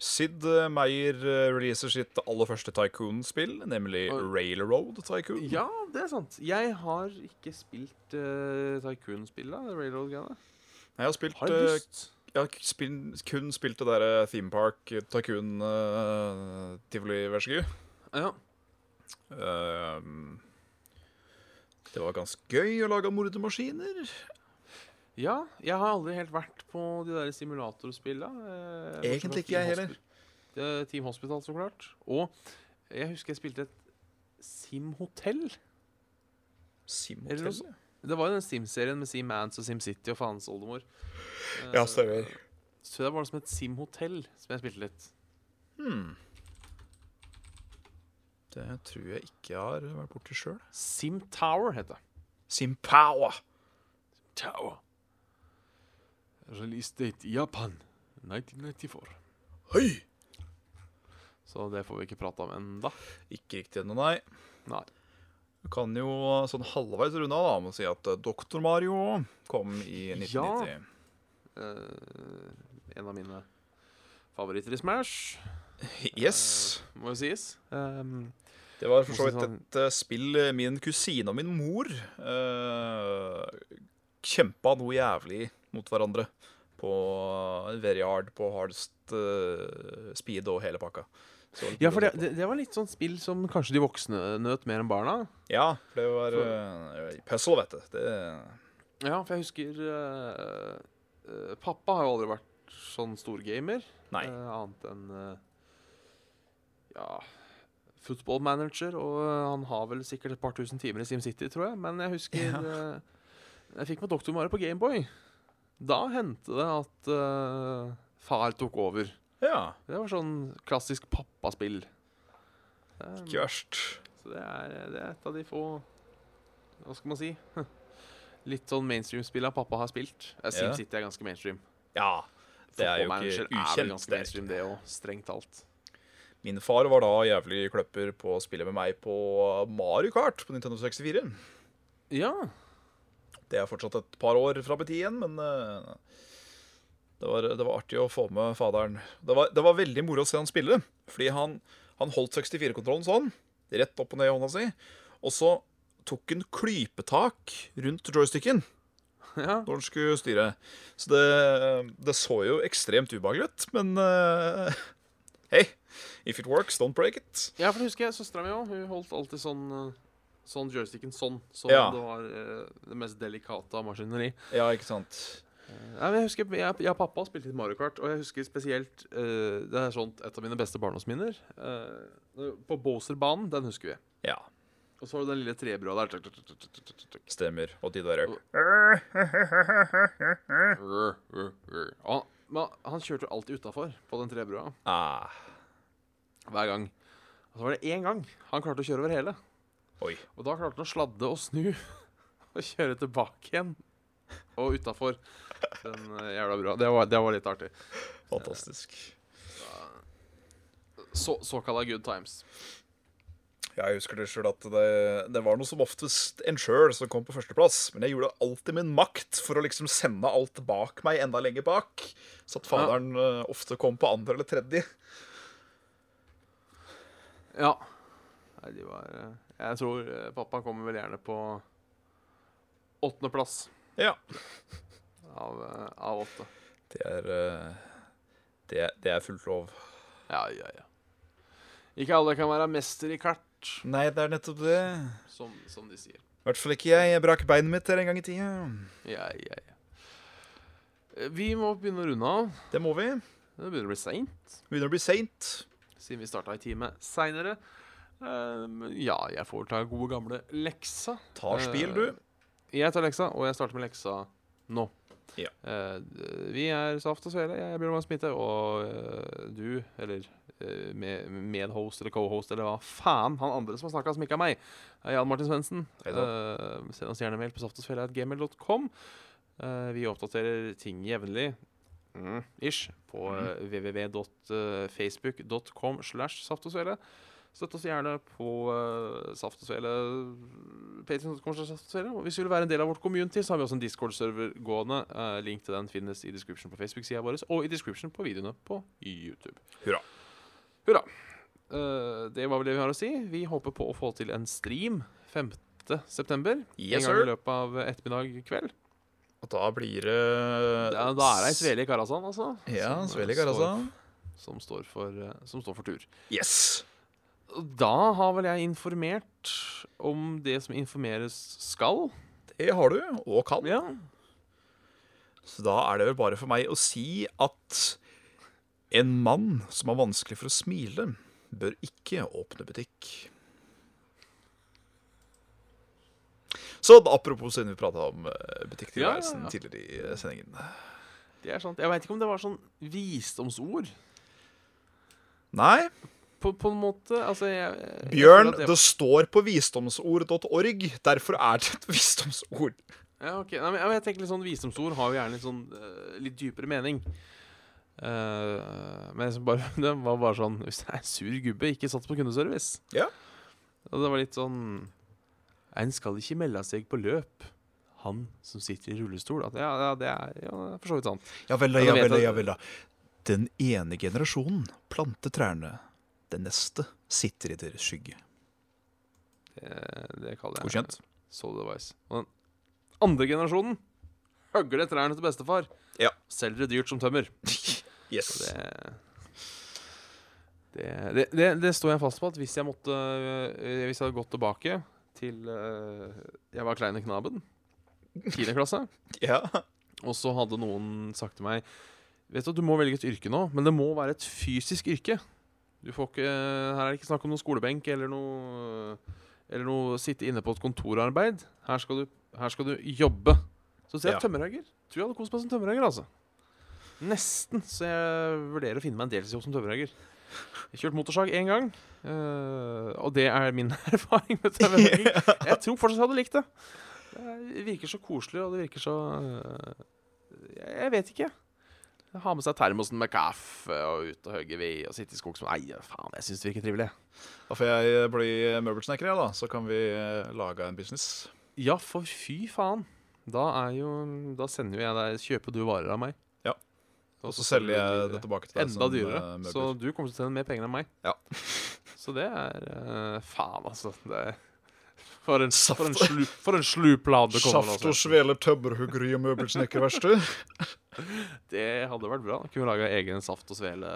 Sid eh, Meier eh, releaser sitt aller første Tycoon-spill, nemlig Oi. Railroad Tycoon. Ja, det er sant. Jeg har ikke spilt uh, Tycoon-spillet. Railroad-greiene. Jeg har spilt Har jeg eh, lyst. Jeg har ikke spil- kun spilt det derre Theme Park eh, Tycoon-tivoli-verset. Ja. Eh, det var ganske gøy å lage mordemaskiner. ja. Jeg har aldri helt vært på de der simulatorspilla. eh, bortsett fra Egentlig ikke Team jeg heller. Hospi- eh, Team Hospital, så klart. Og jeg husker jeg spilte et Sim-hotell. Eller noe Simhotell. sånt. Det var jo den Sim-serien med Sim Ants og Sim City og faens oldemor. Eh, Ja, stemmer. Så det var det som et Sim-hotell som jeg spilte litt. Hmm. Det tror jeg ikke jeg har vært borti sjøl. Sim Tower het det. Simpower! Tower. Release date i Japan 1994. Høy! Så det får vi ikke prate om enda. Ikke riktig ennå, nei. Nei. Du kan jo sånn halvveis runde av da, med å si at eh, Doktor Mario kom i 1990. Eh, en av mine favoritter i Smash. Eh, Ja. Yes. må jo sies. Ehm, Det var for så Hvordan vidt et eh, spill min kusine og min mor eh, kjempa noe jævlig mot hverandre på eh, very hard, på hardest eh, speed og hele pakka. Så det var litt ja, for det, moro å se på. det, det var litt sånn spill som kanskje de voksne nøt mer enn barna. Ja, for det var eh, puzzle, vet du. Det, Ja, for jeg husker eh, eh, Pappa har jo aldri vært sånn storgamer. nei. eh, annet enn eh, Ja Football manager, og eh, han har vel sikkert et par tusen timer i SimCity, tror jeg. Men jeg husker eh, Jeg fikk meg doktormaret på Gameboy. Da hendte det at eh, far tok over. Ja, Det var sånn klassisk pappaspill. Um, ikke verst. så det er, det er et av de få Hva skal man si? Litt sånn mainstream-spillene pappa har spilt. Eh, Ja. SimCity er ganske mainstream. Ja. Det er jo Football ikke Manager er vel ukjent. ganske det er ikke- mainstream, det òg. Strengt talt. Min far var da jævlig kløpper på å spille med meg på Mario Kart på Nintendo 64. Ja. Det er fortsatt et par år fra betiden, men eh, det var, det var artig å få med faderen. Det var, det var veldig moro å se han spille, fordi han, han holdt 64-kontrollen sånn, rett opp og ned i hånda si, og så tok han klypetak rundt joysticken ja. når han skulle styre. Så det, det så jo ekstremt ubehagelig ut, men eh, hey, if it works, don't break it. Ja, for det husker jeg søstera mi òg. Hun holdt alltid sånn eh, Sånn joysticken sånn, som Ja. det var eh, det mest delikate av maskineri. Ja, ikke sant? Ja, men jeg husker, jeg, jeg og pappa spilte litt Mario Kart, og jeg husker spesielt eh, Det er sånt et av mine beste barndomsminner. eh, på Bowser-banen, den husker vi. Ja, Og så var det den lille trebrua der. Tuk, tuk, tuk, tuk, tuk, tuk, tuk. stemmer. Og de der Rr, rr, rr. Og han- Men han kjørte jo alltid utafor på den trebrua. ah, Hver gang. Og så var det én gang han klarte å kjøre over hele. Oi. Og da klarte han å sladde og snu og kjøre tilbake igjen. Og utafor den eh, jævla brua. Det var, det var litt artig. Fantastisk. Så, såkalla good times. Jeg husker det selv at det, det var noe som oftest en sjøl som kom på førsteplass. Men jeg gjorde alltid min makt for å liksom sende alt bak meg enda lenger bak. Så at faderen eh, ofte kom på andre eller tredje. Ja. Nei, de var eh, Jeg tror eh, pappa kommer vel gjerne på åttendeplass Ja. av, eh, av åtte. Det er, eh, det, det er fullt lov. Ja, ja, ja. Ikke alle kan være mester i kart, Nei, det er nettopp det. som, som de sier. I hvert fall ikke jeg. Jeg brakk beinet mitt der en gang i tida. Ja, ja, ja. Eh, Vi må begynne å runde av. Det må vi. Det begynner å bli seint, Begynner å bli seint. siden vi starta en time seinere. ja, jeg får ta gode gamle leksa. Tar spil, du. Jeg tar leksa, og jeg starter med leksa nå. Ja. Eh, d- vi er Saft og Svele. Jeg er Bjørn Magnus Smitte, og eh, du, eller eh, med, medhost eller cohost eller hva faen han andre som har snakka, som ikke er meg, er Jan Martin Svendsen. Hei Eh, send oss gjerne mail på saftogsvele.gmail.com. Eh, vi oppdaterer ting jevnlig. Mm, ish. På eh, www.facebook.com slash Saft og Svele. Støtt oss gjerne på eh, Saft og Svele. Patreon.com slash Saft og Svele. Og hvis du vil være en del av vårt community, så har vi også en Discord-server gående. Eh, link til den finnes i description på Facebook-sida vår og i description på videoene på YouTube. Hurra. Hurra. Eh, det var vel det vi har å si. Vi håper på å få til en stream 5. september. Yes, en gang i sir. løpet av ettermiddag kveld. Og da blir det Da, da er det ei svele i Karasan, altså. Ja, som, eh, Svelig, altså. Står, som, står for, eh, som står for tur. Yes. Og Da har vel jeg informert om det som informeres skal. Det har du, og kan. Ja. Så da er det vel bare for meg å si at en mann som har vanskelig for å smile, bør ikke åpne butikk. Så apropos siden vi prata om eh, butikktilværelsen Ja, ja, ja. tidligere i eh, sendingen. Det er sant. Jeg veit ikke om det var sånn visdomsord. Nei, På, på en måte Altså, jeg, jeg Bjørn, føler at jeg- det står på visdomsord.org. Derfor er det et visdomsord. Ja, ok. Nei, men jeg, jeg tenker litt sånn Visdomsord har jo gjerne litt sånn eh, litt dypere mening. Eh, men jeg som bare, det var bare sånn Hvis jeg er en sur gubbe, ikke sats på kundeservice. Ja. Og det var litt sånn En skal ikke melde seg på løp. Han som sitter i rullestol. At, ja, ja, det er ja, det er for så vidt sant. Ja vel da, Ja, da ja vet vel da, jeg- ja vel da. Den ene generasjonen planter trærne, den neste sitter i deres skygge. Det, det kaller jeg Godkjent. solid advice. Og den andre generasjonen høgler trærne til bestefar. Ja. Selger det dyrt som tømmer. Yes. Så det, det, det, det, det står jeg fast på at hvis jeg måtte øh, Hvis jeg hadde gått tilbake til øh, Jeg var kleine knaben, tiende klasse, Ja. og så hadde noen sagt til meg Vet du, du må velge et yrke nå, men det må være et fysisk yrke. Du får ikke, her er det ikke snakk om noen skolebenk eller noe, eller noe sitte inne på et kontorarbeid. Her skal du, her skal du jobbe. Så ser jeg Ja. tømmerhogger. Tror jeg hadde kost meg som tømmerhogger, altså. Nesten, så jeg vurderer å finne meg en deltidsjobb som tømmerhogger. Jeg kjørte motorsag én gang, eh, og det er min erfaring med tømmerhogging. Jeg tror fortsatt jeg hadde likt det. Det virker så koselig, og det virker så øh, Jeg jeg vet ikke. Ha med seg termosen med kaffe og ut og hogge ved og sitte i skog som Nei, faen, jeg syns det virker trivelig. Da får jeg eh, bli møbelsnekker, jeg, da. Så kan vi eh, lage en business. Ja, for fy faen. Da er jo Da sender jo jeg deg Kjøper du varer av meg? Ja. Og så selger jeg det tilbake til deg Enda som, dyrere. eh, møbler. Så du kommer til å tjene mer penger enn meg. Ja. så det er eh, Faen, altså. Det er, for en, Saft- for en, slu, for en slup lade det kommer. Saft og altså. svele tømmerhuggeri og møbelsnekkerverksted. Det hadde vært bra. Kunne laga egen saft og svele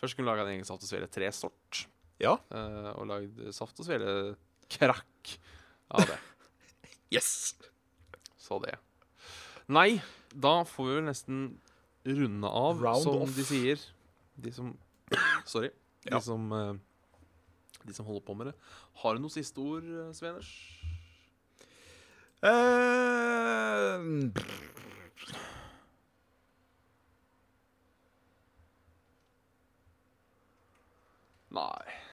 Først kunne vi laga en egen saft og svele tre sort. Ja. Eh, og lagd saft og svele krakk av det. Yes! Så det. Nei, da får vi vel nesten runde av, Round som off. de sier. De som Sorry. Ja. De som eh, De som holder på med det. Har du noen siste ord, eh, Sveners? Eh, Nei.